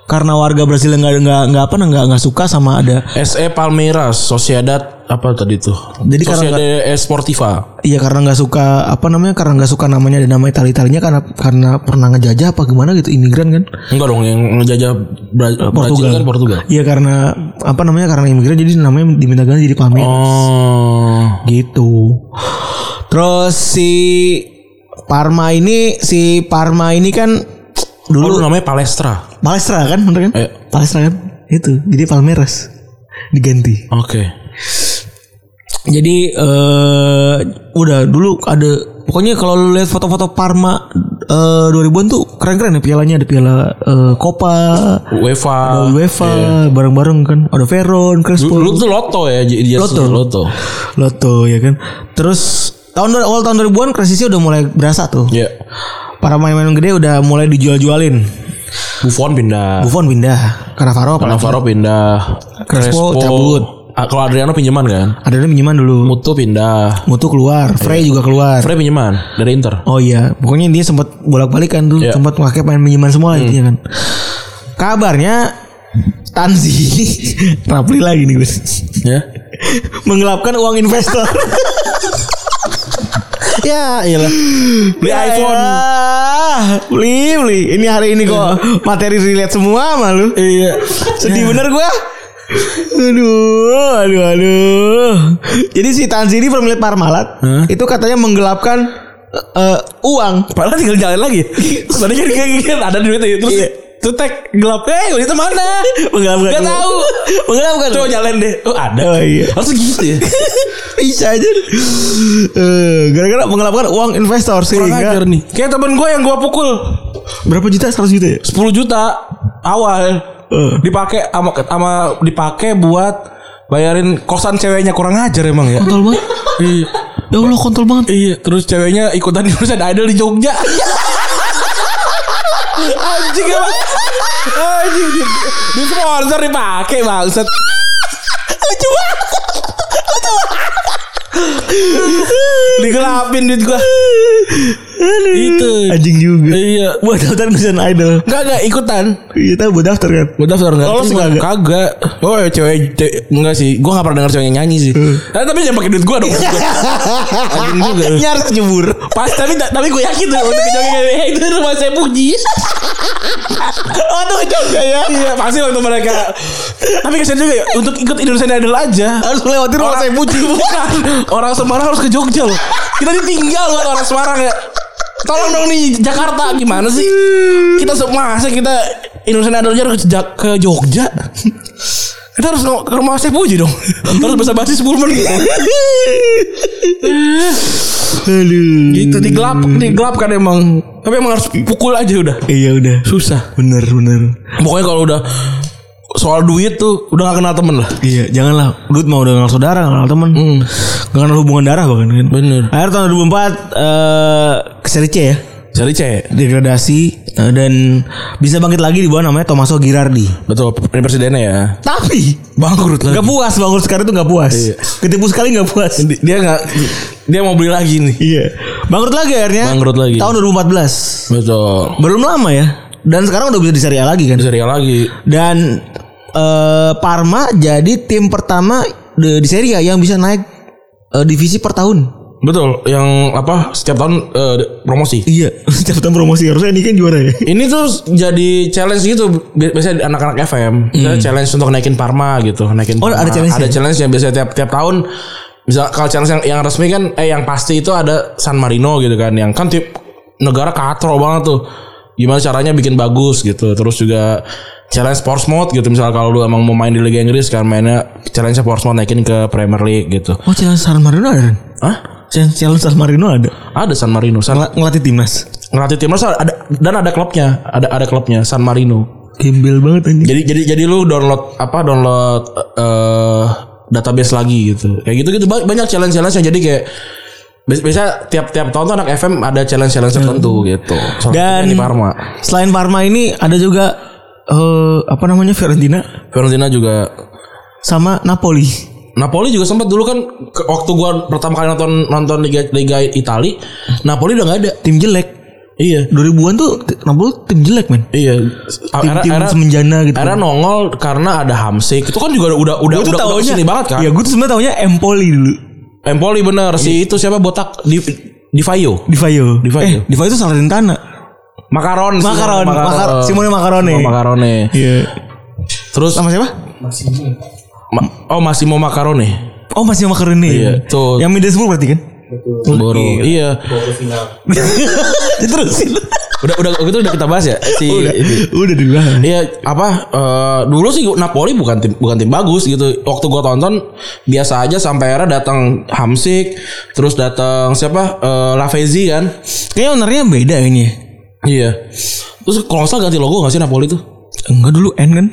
Speaker 3: karena warga Brasil nggak nggak nggak apa nggak nggak suka sama ada
Speaker 2: SE E Palmeiras Sociedad apa tadi tuh?
Speaker 3: Jadi karena
Speaker 2: Sociedad Esportiva.
Speaker 3: iya karena nggak suka apa namanya karena nggak suka namanya ada nama Italia Italinya karena karena pernah ngejajah apa gimana gitu imigran kan
Speaker 2: Enggak dong yang ngejajah Bra- Brazil
Speaker 3: Portugal.
Speaker 2: kan Portugal.
Speaker 3: Iya karena apa namanya karena imigran jadi namanya diminta ganti jadi Palmeiras.
Speaker 2: Oh.
Speaker 3: gitu. Terus si Parma ini si Parma ini kan
Speaker 2: Dulu
Speaker 3: dulu
Speaker 2: namanya Palestra.
Speaker 3: Palestra kan bener kan?
Speaker 2: Iya.
Speaker 3: Palestra kan? Itu. Jadi Palmeiras diganti.
Speaker 2: Oke.
Speaker 3: Jadi eh udah dulu ada pokoknya kalau lu lihat foto-foto Parma eh 2000-an tuh keren-keren ya pialanya ada piala eh, Copa
Speaker 2: UEFA.
Speaker 3: ada UEFA
Speaker 2: iya.
Speaker 3: bareng-bareng kan ada Veron Crespo
Speaker 2: Dulu tuh Lotto ya j- dia
Speaker 3: Lotto.
Speaker 2: Lotto.
Speaker 3: Loto ya kan terus tahun awal tahun 2000-an krisisnya udah mulai berasa tuh
Speaker 2: Iya.
Speaker 3: para pemain-pemain gede udah mulai dijual-jualin.
Speaker 2: Buffon pindah.
Speaker 3: Buffon pindah, Cannavaro apalagi.
Speaker 2: Navarro pindah.
Speaker 3: Crespo cabut.
Speaker 2: Ah, Kalau Adriano pinjaman kan?
Speaker 3: Ada yang pinjaman dulu.
Speaker 2: Mutu pindah.
Speaker 3: Mutu keluar,
Speaker 2: Iya.
Speaker 3: Frey juga keluar.
Speaker 2: Frey pinjaman dari Inter.
Speaker 3: Oh iya, pokoknya dia sempat bolak-balikan tuh,
Speaker 2: Iya.
Speaker 3: sempat pakai main pinjaman semua intinya kan. Kabarnya Tanzi Rapli lagi nih Gus
Speaker 2: Ya.
Speaker 3: Menggelapkan uang investor
Speaker 4: Ya, iyalah.
Speaker 3: Beli
Speaker 2: Ya,
Speaker 3: iPhone
Speaker 4: Beli, beli. Ini hari ini kok materi relate semua sama lu.
Speaker 2: Ya. Iya.
Speaker 4: Sedih bener gua. Aduh, aduh, aduh.
Speaker 3: Jadi si Tanzi ini pemilik Parmalat Itu katanya menggelapkan eh, eh, Uang
Speaker 2: Padahal tinggal jalan lagi. Terus Tadi kan, kan, kan ada duitnya terus tuh tek gelap eh duitnya mana?
Speaker 4: Iya. Menggelapkan
Speaker 2: Gak
Speaker 4: uang.
Speaker 2: tahu.
Speaker 3: Menggelapkan
Speaker 2: Coba jalan deh. Oh ada.
Speaker 4: Oh, iya.
Speaker 2: Harus gitu ya.
Speaker 3: Bisa aja Eh, Gara-gara menggelapkan uang investor
Speaker 2: Kurang
Speaker 3: Sehingga
Speaker 2: ajar nih. Kayak temen gue yang gue pukul
Speaker 3: Berapa juta? 100 juta ya?
Speaker 2: 10 juta awal dipakai ama ama dipakai buat bayarin kosan ceweknya kurang ajar emang ya.
Speaker 3: Kontol banget
Speaker 2: iya.
Speaker 3: Ya Allah kontol banget
Speaker 2: Iya, terus ceweknya ikutan urusan idol di Jogja. Anjing emang. Anjing di, di sponsor dipakai bangsat. Lucu banget. Lucu banget. Digelapin duit gua. Itu.
Speaker 3: Eh, Anjing juga
Speaker 2: Iya.
Speaker 3: Buat daftar Indonesian Idol
Speaker 2: Enggak enggak ikutan.
Speaker 3: Iya tahu buat daftar kan
Speaker 2: Gue daftar enggak?
Speaker 3: Lolos
Speaker 2: Terus
Speaker 3: nggak?
Speaker 2: Kagak. Oh, ya, cewek, cewek enggak sih. Gua enggak pernah denger cewek yang nyanyi sih.
Speaker 3: Hmm.
Speaker 2: Nah, tapi jangan pakai duit gua dong. Anjing juga.
Speaker 3: Nyar kecebur
Speaker 2: Pas tapi tapi gue yakin tuh untuk kejoget kayak itu rumah saya puji.
Speaker 3: Oh tuh juga ya
Speaker 2: Iya pasti waktu mereka. Tapi kesian juga ya untuk ikut Indonesian Idol aja.
Speaker 3: Harus melewati rumah saya puji
Speaker 2: Bukan. Orang Semarang harus ke Jogja loh. Kita ditinggal buat orang Semarang ya. Tolong dong nih Jakarta gimana sih? Kita se- masa kita Indonesian Idol aja harus ke Ja- ke Jogja. Kita harus ke rumah saya puji dong. Harus bahasa basi 10 menit.
Speaker 3: Aduh
Speaker 2: Gitu digelap, digelapkan emang. Tapi emang harus pukul aja udah.
Speaker 3: Iya udah
Speaker 2: Susah.
Speaker 3: Bener bener
Speaker 2: Pokoknya kalau udah soal duit tuh udah gak kenal temen lah. Hmm.
Speaker 3: Iya janganlah Duit mau udah kenal saudara nggak kenal temen Nggak kenal hubungan darah bahkan kan
Speaker 2: Bener.
Speaker 3: Akhir tahun 2004 eh Ke Serie C ya
Speaker 2: Cari cewek.
Speaker 3: Degradasi eh, Dan Bisa bangkit lagi di bawah namanya Tommaso Girardi
Speaker 2: Betul, ini presidennya ya.
Speaker 3: Tapi
Speaker 2: Bangkrut lagi.
Speaker 3: Gak puas Bangkrut sekarang itu gak puas
Speaker 2: Iya.
Speaker 3: Ketipu sekali gak puas
Speaker 2: Di- Dia nggak dia mau beli lagi nih.
Speaker 3: Iya Bangkrut lagi akhirnya
Speaker 2: Bangkrut lagi.
Speaker 3: Tahun 2014
Speaker 2: Betul.
Speaker 3: Belum lama ya. Dan sekarang udah bisa di Serie A lagi kan.
Speaker 2: Serial lagi.
Speaker 3: Dan eh, Parma jadi tim pertama di, di Serie A yang bisa naik eh, divisi per tahun.
Speaker 2: Betul, yang apa setiap tahun eh, promosi.
Speaker 3: Iya, setiap tahun promosi harusnya ini kan juara ya.
Speaker 2: Ini tuh jadi challenge gitu bi- biasanya anak-anak FM. Misalnya challenge untuk naikin Parma gitu, naikin
Speaker 3: Hmm. Oh,
Speaker 2: Parma.
Speaker 3: ada challenge-nya?
Speaker 2: Ada challenge yang biasanya tiap tiap tahun bisa kalau challenge yang, yang resmi kan eh yang pasti itu ada San Marino gitu kan yang kan tip negara katro banget tuh. Gimana caranya bikin bagus gitu. Terus juga challenge Portsmouth gitu misalnya kalau lu emang mau main di Liga Inggris kan mainnya challenge Portsmouth naikin ke Premier League gitu.
Speaker 3: Oh, challenge San Marino ada. Ren?
Speaker 2: Hah?
Speaker 3: Challenge, challenge San Marino ada.
Speaker 2: Ada San Marino. San,
Speaker 3: Ngel- ngelatih timnas.
Speaker 2: ngelatih timnas ada dan ada klubnya, ada ada klubnya San Marino.
Speaker 3: Gembel banget anjing.
Speaker 2: Jadi jadi jadi lu download apa download eh database lagi gitu. Kayak gitu gitu Ba- banyak challenge-challenge yang jadi kayak bi- biasa tiap-tiap tahun tuh anak FM ada challenge-challenge tertentu gitu. Salah
Speaker 3: Hmm. Dan-
Speaker 2: satunya di Parma.
Speaker 3: Selain Parma ini ada juga eh apa namanya Fiorentina
Speaker 2: Fiorentina juga
Speaker 3: sama Napoli.
Speaker 2: Napoli juga sempat dulu kan ke- waktu gua pertama kali nonton nonton Liga Liga Itali, Napoli udah nggak ada.
Speaker 3: Tim jelek.
Speaker 2: Iya.
Speaker 3: 2000-an tuh t- Napoli tim jelek, men.
Speaker 2: Iya.
Speaker 3: Tim,
Speaker 2: Era,
Speaker 3: tim
Speaker 2: era,
Speaker 3: semenjana gitu.
Speaker 2: era nongol karena ada Hamsik. Itu kan juga udah udah
Speaker 3: Gua
Speaker 2: udah, udah
Speaker 3: taunya-
Speaker 2: kesini banget kan.
Speaker 3: Iya, gue tuh sebenarnya taunya Empoli dulu.
Speaker 2: Empoli bener si itu siapa botak di di Fayo.
Speaker 3: Di Fayo.
Speaker 2: Di Fayo.
Speaker 3: Eh, Di Fayo itu Salernitana.
Speaker 2: Makaron.
Speaker 3: Makaron, makar, Simone Makarone.
Speaker 2: Simone Makarone.
Speaker 3: Iya.
Speaker 2: Oh. Terus
Speaker 3: Sama siapa?
Speaker 2: ma- oh masih mau Makarone.
Speaker 3: Oh, masih Makarone.
Speaker 2: Iya, tuh.
Speaker 3: Yang Middlesbrough berarti kan?
Speaker 2: Baru. Iya.
Speaker 3: Terus
Speaker 2: Udah udah itu udah kita bahas ya si
Speaker 3: Udah dibahas.
Speaker 2: Iya apa eh, dulu sih Napoli bukan tim bukan tim bagus gitu. Waktu gua tonton biasa aja sampai era datang Hamsik, terus datang siapa Eh, Lavezzi kan.
Speaker 3: Kayaknya ownernya beda ini. ya.
Speaker 2: Iya. Terus kalau nggak salah ganti logo nggak sih Napoli tuh?
Speaker 3: Enggak dulu N kan?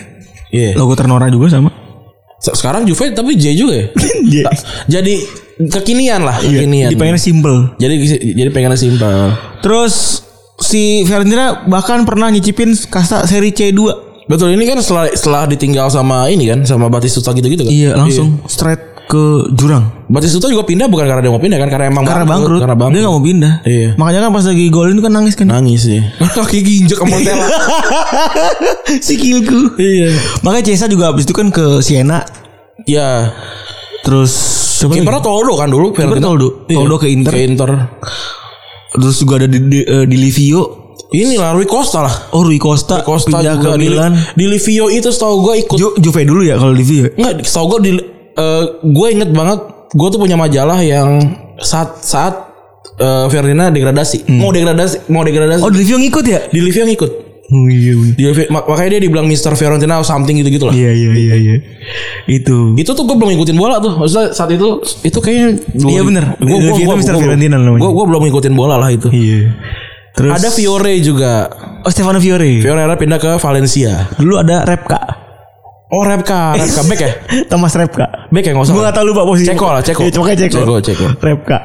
Speaker 2: Iya.
Speaker 3: Logo Ternora juga sama.
Speaker 2: Se- Sekarang Juve tapi J juga ya.
Speaker 3: Iya.
Speaker 2: jadi kekinian lah, kekinian.
Speaker 3: Dipengennya Iya, simple.
Speaker 2: Jadi jadi pengennya simpel.
Speaker 3: Terus si Fiorentina bahkan pernah nyicipin kasta seri C2.
Speaker 2: Betul ini kan setelah setelah ditinggal sama ini kan sama Batistuta gitu-gitu kan.
Speaker 3: Iya, langsung straight ke jurang.
Speaker 2: Batistuta juga pindah bukan karena dia mau pindah kan karena emang
Speaker 3: Karena bangkrut.
Speaker 2: Karena bangkrut.
Speaker 3: Dia gak mau pindah.
Speaker 2: Iya.
Speaker 3: Makanya kan pas lagi golin kan nangis kan.
Speaker 2: nangis sih. Kaki ginjek sama Montella.
Speaker 3: Sikilku.
Speaker 2: Iya.
Speaker 3: Makanya Cesa juga abis itu kan ke Siena.
Speaker 2: Iya.
Speaker 3: Terus siapa lagi?
Speaker 2: Kipernya Toldo kan dulu Fiorentina.
Speaker 3: Toldo. Toldo ke Inter.
Speaker 2: Ke Inter.
Speaker 3: Terus juga ada di, di, eh, di Livio.
Speaker 2: Ini lah Rui Costa lah.
Speaker 3: Oh Rui Costa,
Speaker 2: Costa
Speaker 3: pindah ke
Speaker 2: juga di,
Speaker 3: Milan.
Speaker 2: di Livio itu setahu gue ikut
Speaker 3: Ju- Juve dulu ya kalau Livio.
Speaker 2: Enggak, setahu gue di eh, gue inget banget gue tuh punya majalah yang saat saat eh, Fiorentina degradasi
Speaker 3: Hmm.
Speaker 2: mau degradasi mau degradasi
Speaker 3: Oh di Livio ngikut ya?
Speaker 2: di Livio ngikut
Speaker 3: Oh iya iya.
Speaker 2: di Livio- mak- makanya dia dibilang Mister Fiorentina or something gitu gitu lah
Speaker 3: Iya iya iya iya. Itu.
Speaker 2: itu tuh gue belum ngikutin bola tuh maksudnya saat itu itu kayaknya
Speaker 3: Iya, bener.
Speaker 2: gue
Speaker 3: Livio itu Mr. Fiorentina namanya.
Speaker 2: gue belum ngikutin bola lah itu
Speaker 3: Iya. Terus
Speaker 2: ada Fiore juga
Speaker 3: Oh Stefano Fiore.
Speaker 2: Fiore akhirnya pindah ke Valencia
Speaker 3: Dulu ada Repka.
Speaker 2: oh Repka Repka back ya
Speaker 3: Thomas Repka.
Speaker 2: back ya nggak usah
Speaker 3: Gue gak tau lupa posisi.
Speaker 2: Ceko lah, Ceko.
Speaker 3: Iya, pokoknya Ceko.
Speaker 2: Ceko, Ceko.
Speaker 3: Repka.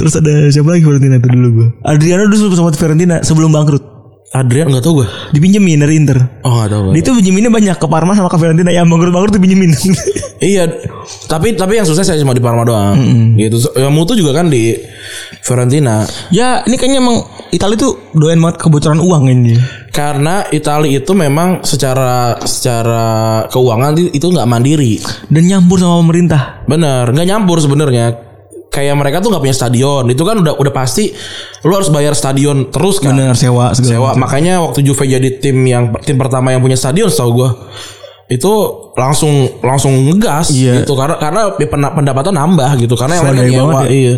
Speaker 3: Terus ada siapa lagi Fiorentina itu dulu gue. Adriano dulu sama Fiorentina sebelum bangkrut.
Speaker 2: Adrian nggak tau gue
Speaker 3: Dipinjemin dari Inter.
Speaker 2: oh nggak tau gue
Speaker 3: Dia tuh pinjeminnya banyak ke Parma sama ke Fiorentina. Yang bangkrut-bangkrut tuh pinjemin.
Speaker 2: Iya, tapi tapi yang susah saya cuma di Parma doang. Gitu. So- Ya Mutu juga kan di Fiorentina.
Speaker 3: ya ini kayaknya emang Italia tuh doyan banget kebocoran uang ini.
Speaker 2: Karena Italia itu memang secara secara keuangan itu- itu nggak mandiri.
Speaker 3: Dan nyampur sama pemerintah.
Speaker 2: Bener, nggak nyampur sebenarnya. Kayak mereka tuh nggak punya stadion. Itu kan udah udah pasti lu harus bayar stadion terus kan.
Speaker 3: Bener sewa segala
Speaker 2: Sewa.
Speaker 3: macam.
Speaker 2: Makanya waktu Juve jadi tim yang tim pertama yang punya stadion setahu gua itu langsung langsung ngegas
Speaker 3: Iya.
Speaker 2: gitu karena karena pena- pendapatan nambah gitu karena yang
Speaker 3: Selain
Speaker 2: lainnya
Speaker 3: dari
Speaker 2: nyewa
Speaker 3: banget ya.
Speaker 2: iya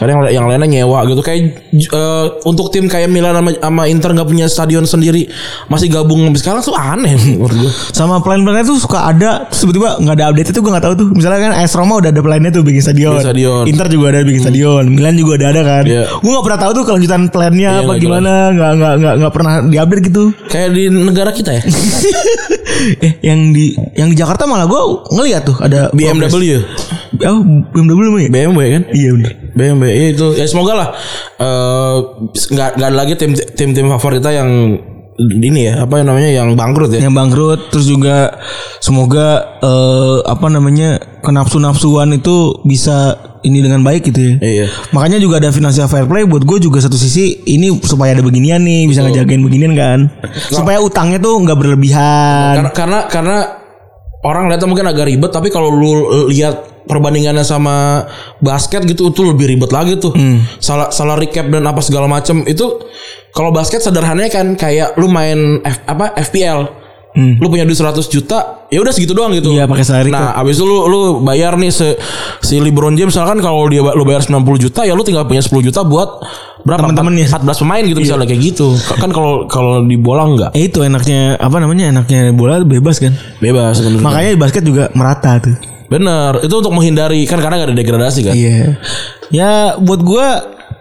Speaker 2: karena yang, yang lainnya nyewa gitu kayak j- eh, untuk tim kayak Milan sama, sama Inter nggak punya stadion sendiri masih gabung sampai sekarang tuh aneh menurut gua
Speaker 3: sama plan-plannya tuh suka ada terus tiba-tiba nggak ada update itu gue nggak tahu tuh misalnya kan AS Roma udah ada plannya tuh bikin stadion, Hmm.
Speaker 2: Bikin stadion.
Speaker 3: Inter juga ada bikin stadion Milan juga ada ada kan
Speaker 2: Iya.
Speaker 3: gue nggak pernah tahu tuh kelanjutan plannya apa
Speaker 2: nggak
Speaker 3: gimana Iya, nggak nggak nggak nggak pernah diupdate gitu
Speaker 2: kayak di negara kita ya
Speaker 3: eh yang di yang di Jakarta malah gue ngeliat tuh ada
Speaker 2: BMW
Speaker 3: progress. oh BMW emang ya?
Speaker 2: BMW kan
Speaker 3: iya bener
Speaker 2: BMW iya itu ya semoga lah eh, nggak nggak ada lagi tim tim tim favorit kita yang ini ya apa namanya yang bangkrut ya
Speaker 3: yang bangkrut terus juga semoga eh, apa namanya kenapsu-napsuan itu bisa ini dengan baik gitu ya
Speaker 2: Iya.
Speaker 3: Makanya juga ada financial fair play buat gue juga satu sisi ini supaya ada beginian nih bisa ngejagain beginian kan. Supaya utangnya tuh nggak berlebihan.
Speaker 2: Karena karena karena orang lihatnya mungkin agak ribet tapi kalau lu lihat perbandingannya sama basket gitu itu lebih ribet lagi tuh.
Speaker 3: Hmm.
Speaker 2: Salah salah recap dan apa segala macem itu kalau basket sederhananya kan kayak lu main F- apa FPL. Lu punya duit 100 juta, ya udah segitu doang gitu.
Speaker 3: Hmm. Iya, pakai salary
Speaker 2: Nah, abis itu lu lu bayar nih se- si LeBron James misalkan kalau dia lu bayar 90 juta ya lu tinggal punya 10 juta buat berapa?
Speaker 3: Temen-temennya.
Speaker 2: 14 pemain gitu misalnya kayak gitu. Kan kalau kalau di bola enggak
Speaker 3: Eh, itu enaknya apa namanya enaknya bola bebas kan.
Speaker 2: bebas sebenarnya.
Speaker 3: Makanya di basket juga merata tuh.
Speaker 2: Bener, itu untuk menghindari kan karena gak ada degradasi kan.
Speaker 3: Iya. Ya buat gue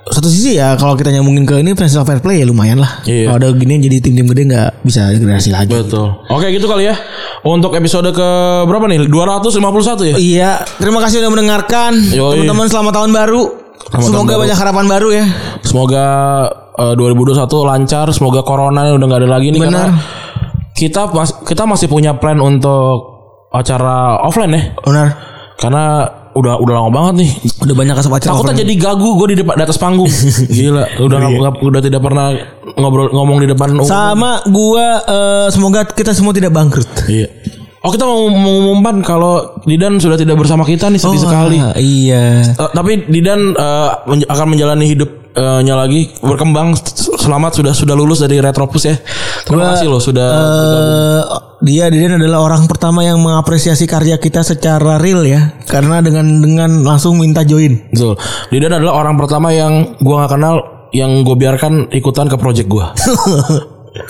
Speaker 3: satu sisi ya kalau kita nyambungin ke ini financial fair play ya lumayan lah.
Speaker 2: Iya.
Speaker 3: Kalau ada gini jadi tim-tim gede nggak bisa degradasi lagi.
Speaker 2: Betul. Oke gitu kali ya. Untuk episode ke berapa nih? 251 ya?
Speaker 3: Iya, terima kasih udah mendengarkan.
Speaker 2: Yoi.
Speaker 3: Teman-teman selamat tahun baru.
Speaker 2: Selamat
Speaker 3: Semoga
Speaker 2: tahun baru.
Speaker 3: banyak harapan baru ya.
Speaker 2: Semoga eh, 2021 lancar, semoga corona udah gak ada lagi nih
Speaker 3: Benar.
Speaker 2: karena kita mas- kita masih punya plan untuk acara offline ya.
Speaker 3: Benar.
Speaker 2: Karena udah udah lama banget nih.
Speaker 3: Udah banyak kasih acara.
Speaker 2: Takutnya jadi gagu gue di depan di atas panggung. Gila,
Speaker 3: Iya.
Speaker 2: udah nggak- udah tidak pernah ngobrol ngomong di depan umum.
Speaker 3: Sama gua eh, semoga kita semua tidak bangkrut.
Speaker 2: Iya. Oh kita mau mengumumkan kalau Didan sudah tidak bersama kita nih sedih sekali.
Speaker 3: ah, Iya.
Speaker 2: Eh, tapi Didan eh, menj- akan menjalani hidupnya lagi berkembang. S- Selamat sudah sudah lulus dari Retropus ya. Terima
Speaker 3: Gua,
Speaker 2: kasih loh sudah.
Speaker 3: Eh dia Deden adalah orang pertama yang mengapresiasi karya kita secara real ya. Karena dengan dengan langsung minta join.
Speaker 2: Betul. Didan adalah orang pertama yang gua nggak kenal yang gue biarkan ikutan ke project gua.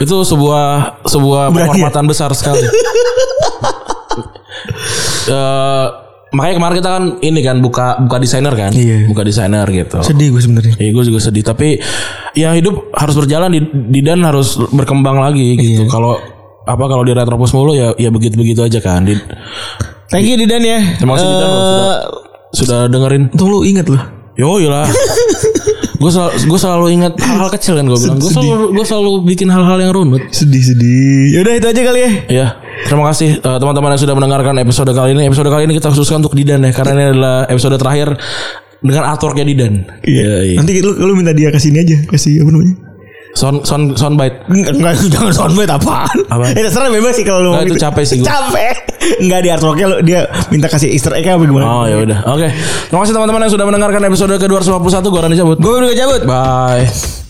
Speaker 2: Itu sebuah sebuah
Speaker 3: Berani ya?
Speaker 2: penghormatan besar sekali. Eh, makanya kemarin kita kan ini kan buka buka desainer kan,
Speaker 3: Iya.
Speaker 2: buka desainer gitu.
Speaker 3: Sedih gue sebenarnya.
Speaker 2: Ya gue juga sedih tapi ya hidup harus berjalan di, di dan harus berkembang lagi gitu. Kalau apa kalau di retropus mulu ya ya begitu-begitu aja kan. Di,
Speaker 3: Thank you Deden ya.
Speaker 2: Eh, terima kasih Didan loh, sudah sudah dengerin.
Speaker 3: Untung lu inget loh.
Speaker 2: Yo lah. gue selalu gue selalu ingat hal-hal kecil kan gue bilang. Gue selalu gue selalu bikin hal-hal yang runut.
Speaker 3: Sedih-sedih. Yaudah itu aja kali ya.
Speaker 2: Ya, terima kasih eh, teman-teman yang sudah mendengarkan episode kali ini. Episode kali ini kita khususkan untuk Didan ya, karena ini adalah episode terakhir dengan artworknya Didan. Iya.
Speaker 3: Nanti lu, lu minta dia ke sini aja, kasih apa namanya?
Speaker 2: Sound sound soundbite.
Speaker 3: Enggak, enggak jangan soundbite apaan.
Speaker 2: Apaan?
Speaker 3: Ya terserah bebas sih kalau lu
Speaker 2: Enggak,
Speaker 3: mau gitu.
Speaker 2: itu capek sih gua.
Speaker 3: Capek. Enggak di artworknya lu dia minta kasih easter egg apa gimana?
Speaker 2: Oh ya udah. Oke. Terima kasih teman-teman yang sudah mendengarkan episode ke-251. Gue Rani cabut.
Speaker 3: Gue udah cabut.
Speaker 2: Bye.